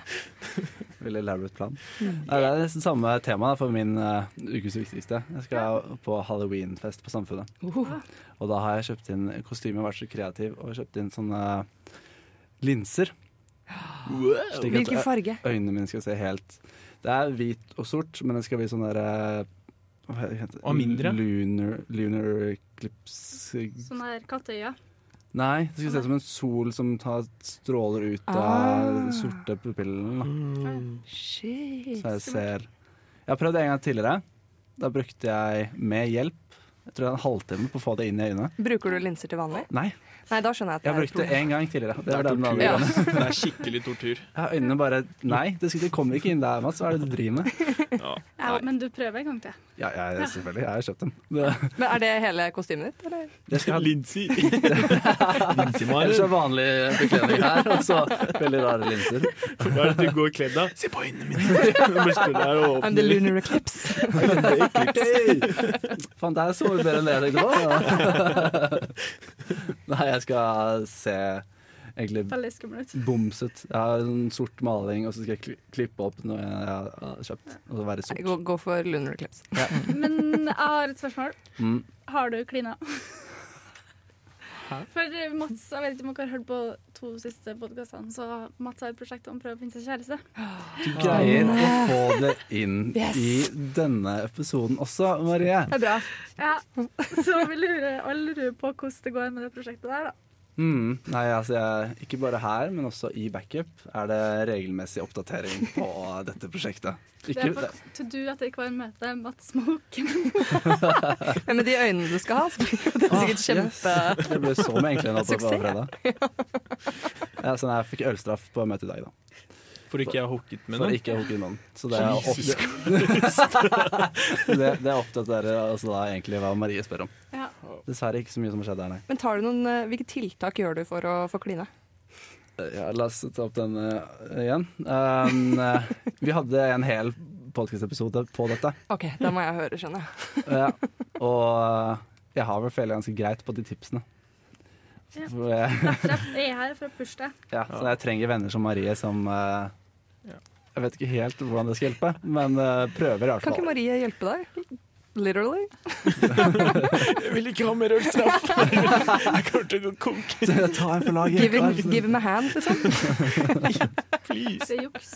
S3: Veldig elaborate plan. Nei, Det er nesten samme tema da, for min eh, ukes viktigste. Jeg skal på halloweenfest på Samfunnet.
S2: Oh,
S3: Og da har jeg kjøpt inn kostyme, vært så kreativ, og kjøpt inn sånne linser. Slik at
S2: Hvilken farge?
S3: øynene mine skal se helt Det er hvit og sort, men det skal bli sånn der eh, Hva heter det?
S1: Og mindre?
S3: Lunar, lunar eclipse
S4: Sånn her katteøye.
S3: Nei, det skal se ut som en sol som tar, stråler ut av
S2: Ah.
S3: sorte pupillen. da.
S2: Shit.
S3: Så jeg ser Jeg har prøvd det en gang tidligere. Da brukte jeg med hjelp Jeg tror det er en halvtime på å få det inn i øynene.
S2: Bruker du linser til vanlig?
S3: Nei,
S2: Nei, da skjønner jeg at det
S3: jeg
S2: er et
S3: brukte det
S2: problem.
S3: én gang tidligere. Det
S1: Det
S3: var
S1: er
S3: den
S1: tortur.
S3: andre gangen.
S1: Det er skikkelig tortur.
S3: Jeg har øynene bare Nei, det, skal, det kommer ikke inn der, Mats. Hva er det du driver med?
S1: Ja.
S4: Ja, men du prøver en gang til.
S3: Ja, ja selvfølgelig. Jeg har jo kjøpt dem. Det,
S2: Men er det hele kostymet ditt, eller?
S3: det skal jeg ha
S1: Lindsay. Lindsay
S3: Ellers
S1: Maren.
S3: er vanlig bekledning her, og så veldig rare linser.
S1: Hva er det du går kledd av? Se på øynene mine! Bare står der og
S2: I'm the
S1: åpner litt.
S2: lunar eclipse.
S3: Hey! Faen, der så mye bedre enn det liksom. jeg tenkte på. Nei, jeg skal se egentlig
S4: Veldig skummel ut.
S3: boms ut. Jeg har en sort maling, og så skal jeg kli- klippe opp noe jeg har kjøpt. Og så være
S2: Nei,
S3: sort.
S2: Gå, gå for Lunar Eclipse.
S4: Men jeg har et spørsmål.
S3: Mm.
S4: Har du klina? For eh, Mats, jeg vet ikke om dere har hørt på to siste podkastene, så Mats har et prosjekt om å prøve å finne seg kjæreste.
S3: Du greier å få det inn
S2: Yes.
S3: i denne episoden også, Marie.
S2: Det er bra.
S4: Ja, Så vi lurer, alle lurer på hvordan det går med det prosjektet der, da.
S3: Mm. Nei, altså, jeg, ikke bare her, men også i backup er det regelmessig oppdatering på dette prosjektet.
S4: Det
S3: Ikke,
S4: er på to do etter hver møte. Mats Smoke.
S2: Men med de øynene du skal ha, så blir jo det sikkert
S3: Ah, yes.
S2: kjempe...
S3: det ble så med egentlig nå på på
S2: Suksess.
S3: fredag. Ja, så nei, jeg fikk ølstraff på møtet i dag, da.
S1: For ikke jeg har hooket med
S3: For
S1: noen.
S3: ikke å hooke inn noen. Så det er, opp,
S1: Jesus
S3: det, det er oppdaterer altså da egentlig hva Marie spør om.
S4: Ja.
S3: Dessverre ikke så mye som har skjedd her, nei.
S2: Men tar du noen, eh, hvilke tiltak gjør du for å få kline?
S3: Ja, la oss ta opp den eh, igjen. Um, eh, vi hadde en hel podcast-episode på dette.
S2: OK, da må jeg høre, skjønner jeg.
S3: Ja. Og eh, jeg har vel feilet ganske greit på de tipsene.
S4: Ja.
S3: For jeg,
S4: Derfor er jeg her for å pushe deg.
S3: ja, så jeg trenger venner som Marie som eh,
S1: Ja.
S3: Jeg vet ikke helt hvordan det skal hjelpe, men eh, prøver i hvert
S2: Kan ikke
S3: fall.
S2: Marie hjelpe deg? Literally.
S1: Jeg vil ikke ha mer ølstraff! Jeg kommer til å gå konk.
S3: Ta en for laget.
S2: Give him, give him a hand, liksom.
S1: Please.
S4: Det er juks.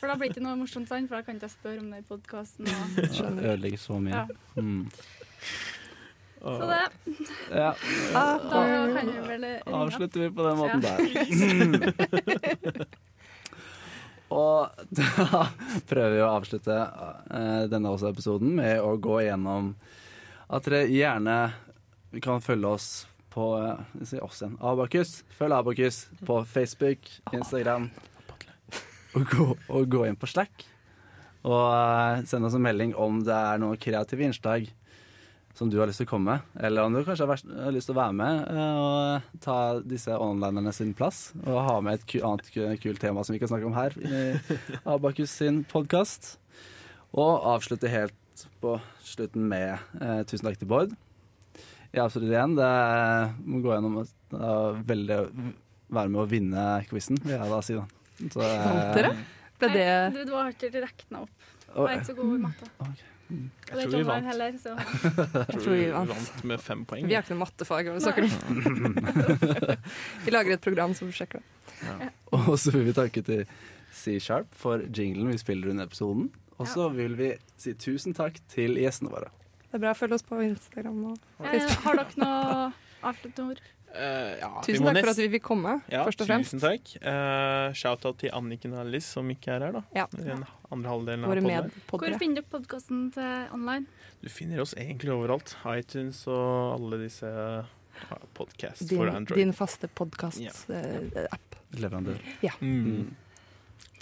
S4: For da blir det ikke noe morsomt, sant? for da kan ikke jeg spørre om det i podkasten.
S2: Skjønner.
S3: Ødelegger så mye.
S4: Ja.
S3: Mm.
S4: Så det,
S3: Ja,
S2: Ah.
S4: da kan vi vel ringe.
S3: avslutter vi på den måten
S4: Ja.
S3: der. Og da prøver vi å avslutte eh, denne også episoden med å gå gjennom at dere gjerne kan følge oss på eh, jeg sier oss igjen, Abakus. Følg Abakus på Facebook, Instagram. Og gå, og gå inn på Slack. Og eh, send oss en melding om det er noen kreative innslag som du har lyst til å komme med. Eller om du kanskje har vært- har lyst til å være med eh, og ta disse onlinerne sin plass. Og ha med et ku annet ku kult tema som vi kan snakke om her i Abakus sin podkast. Og avslutte helt på slutten med eh, tusen takk til Bård. Jeg avslutter igjen. Det er, må gå gjennom og eh, veldig være med å vinne quizen, vil jeg da si. da. Så, eh,
S2: Vant dere? Ble det
S4: Nei, du, du har ikke rekna opp. Jeg
S3: og-
S4: er ikke så god i matte.
S3: Ok.
S4: Og det er ikke
S1: Jeg tror vi
S4: online
S1: vant.
S4: heller, så
S1: Jeg
S2: tror
S1: tror vi
S2: vi vant.
S1: vant med fem poeng.
S2: Vi har ikke noe mattefag. hva snakker du om? Vi lager et program som sjekker det.
S3: Og så vil vi takke til C-Sharp for jinglen vi spiller under episoden. Og så vil vi si tusen takk til gjestene våre.
S2: Det er bra. Følg oss på Instagram. Og
S4: eh, har dere noe avsluttende ord?
S1: Eh, ja, vi
S2: tusen
S1: må
S2: takk for
S1: nest-
S2: at vi fikk komme,
S1: ja,
S2: først og fremst.
S1: Tusen takk. Eh, Shout-out til Anniken og Alice, som ikke er her, da.
S2: Ja.
S1: I den andre halvdelen av
S2: Våre
S1: podden her.
S4: Hvor
S2: medpoddere.
S4: finner dere podkasten til online?
S1: Du finner oss egentlig overalt. iTunes og alle disse ja, podcast for
S2: Din,
S1: Android.
S2: din faste eh,
S1: Ja.
S2: podkast-app.
S3: Leverandør.
S1: Mm.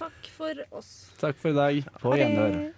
S4: Takk for oss.
S3: Takk for i dag. På gjenhør.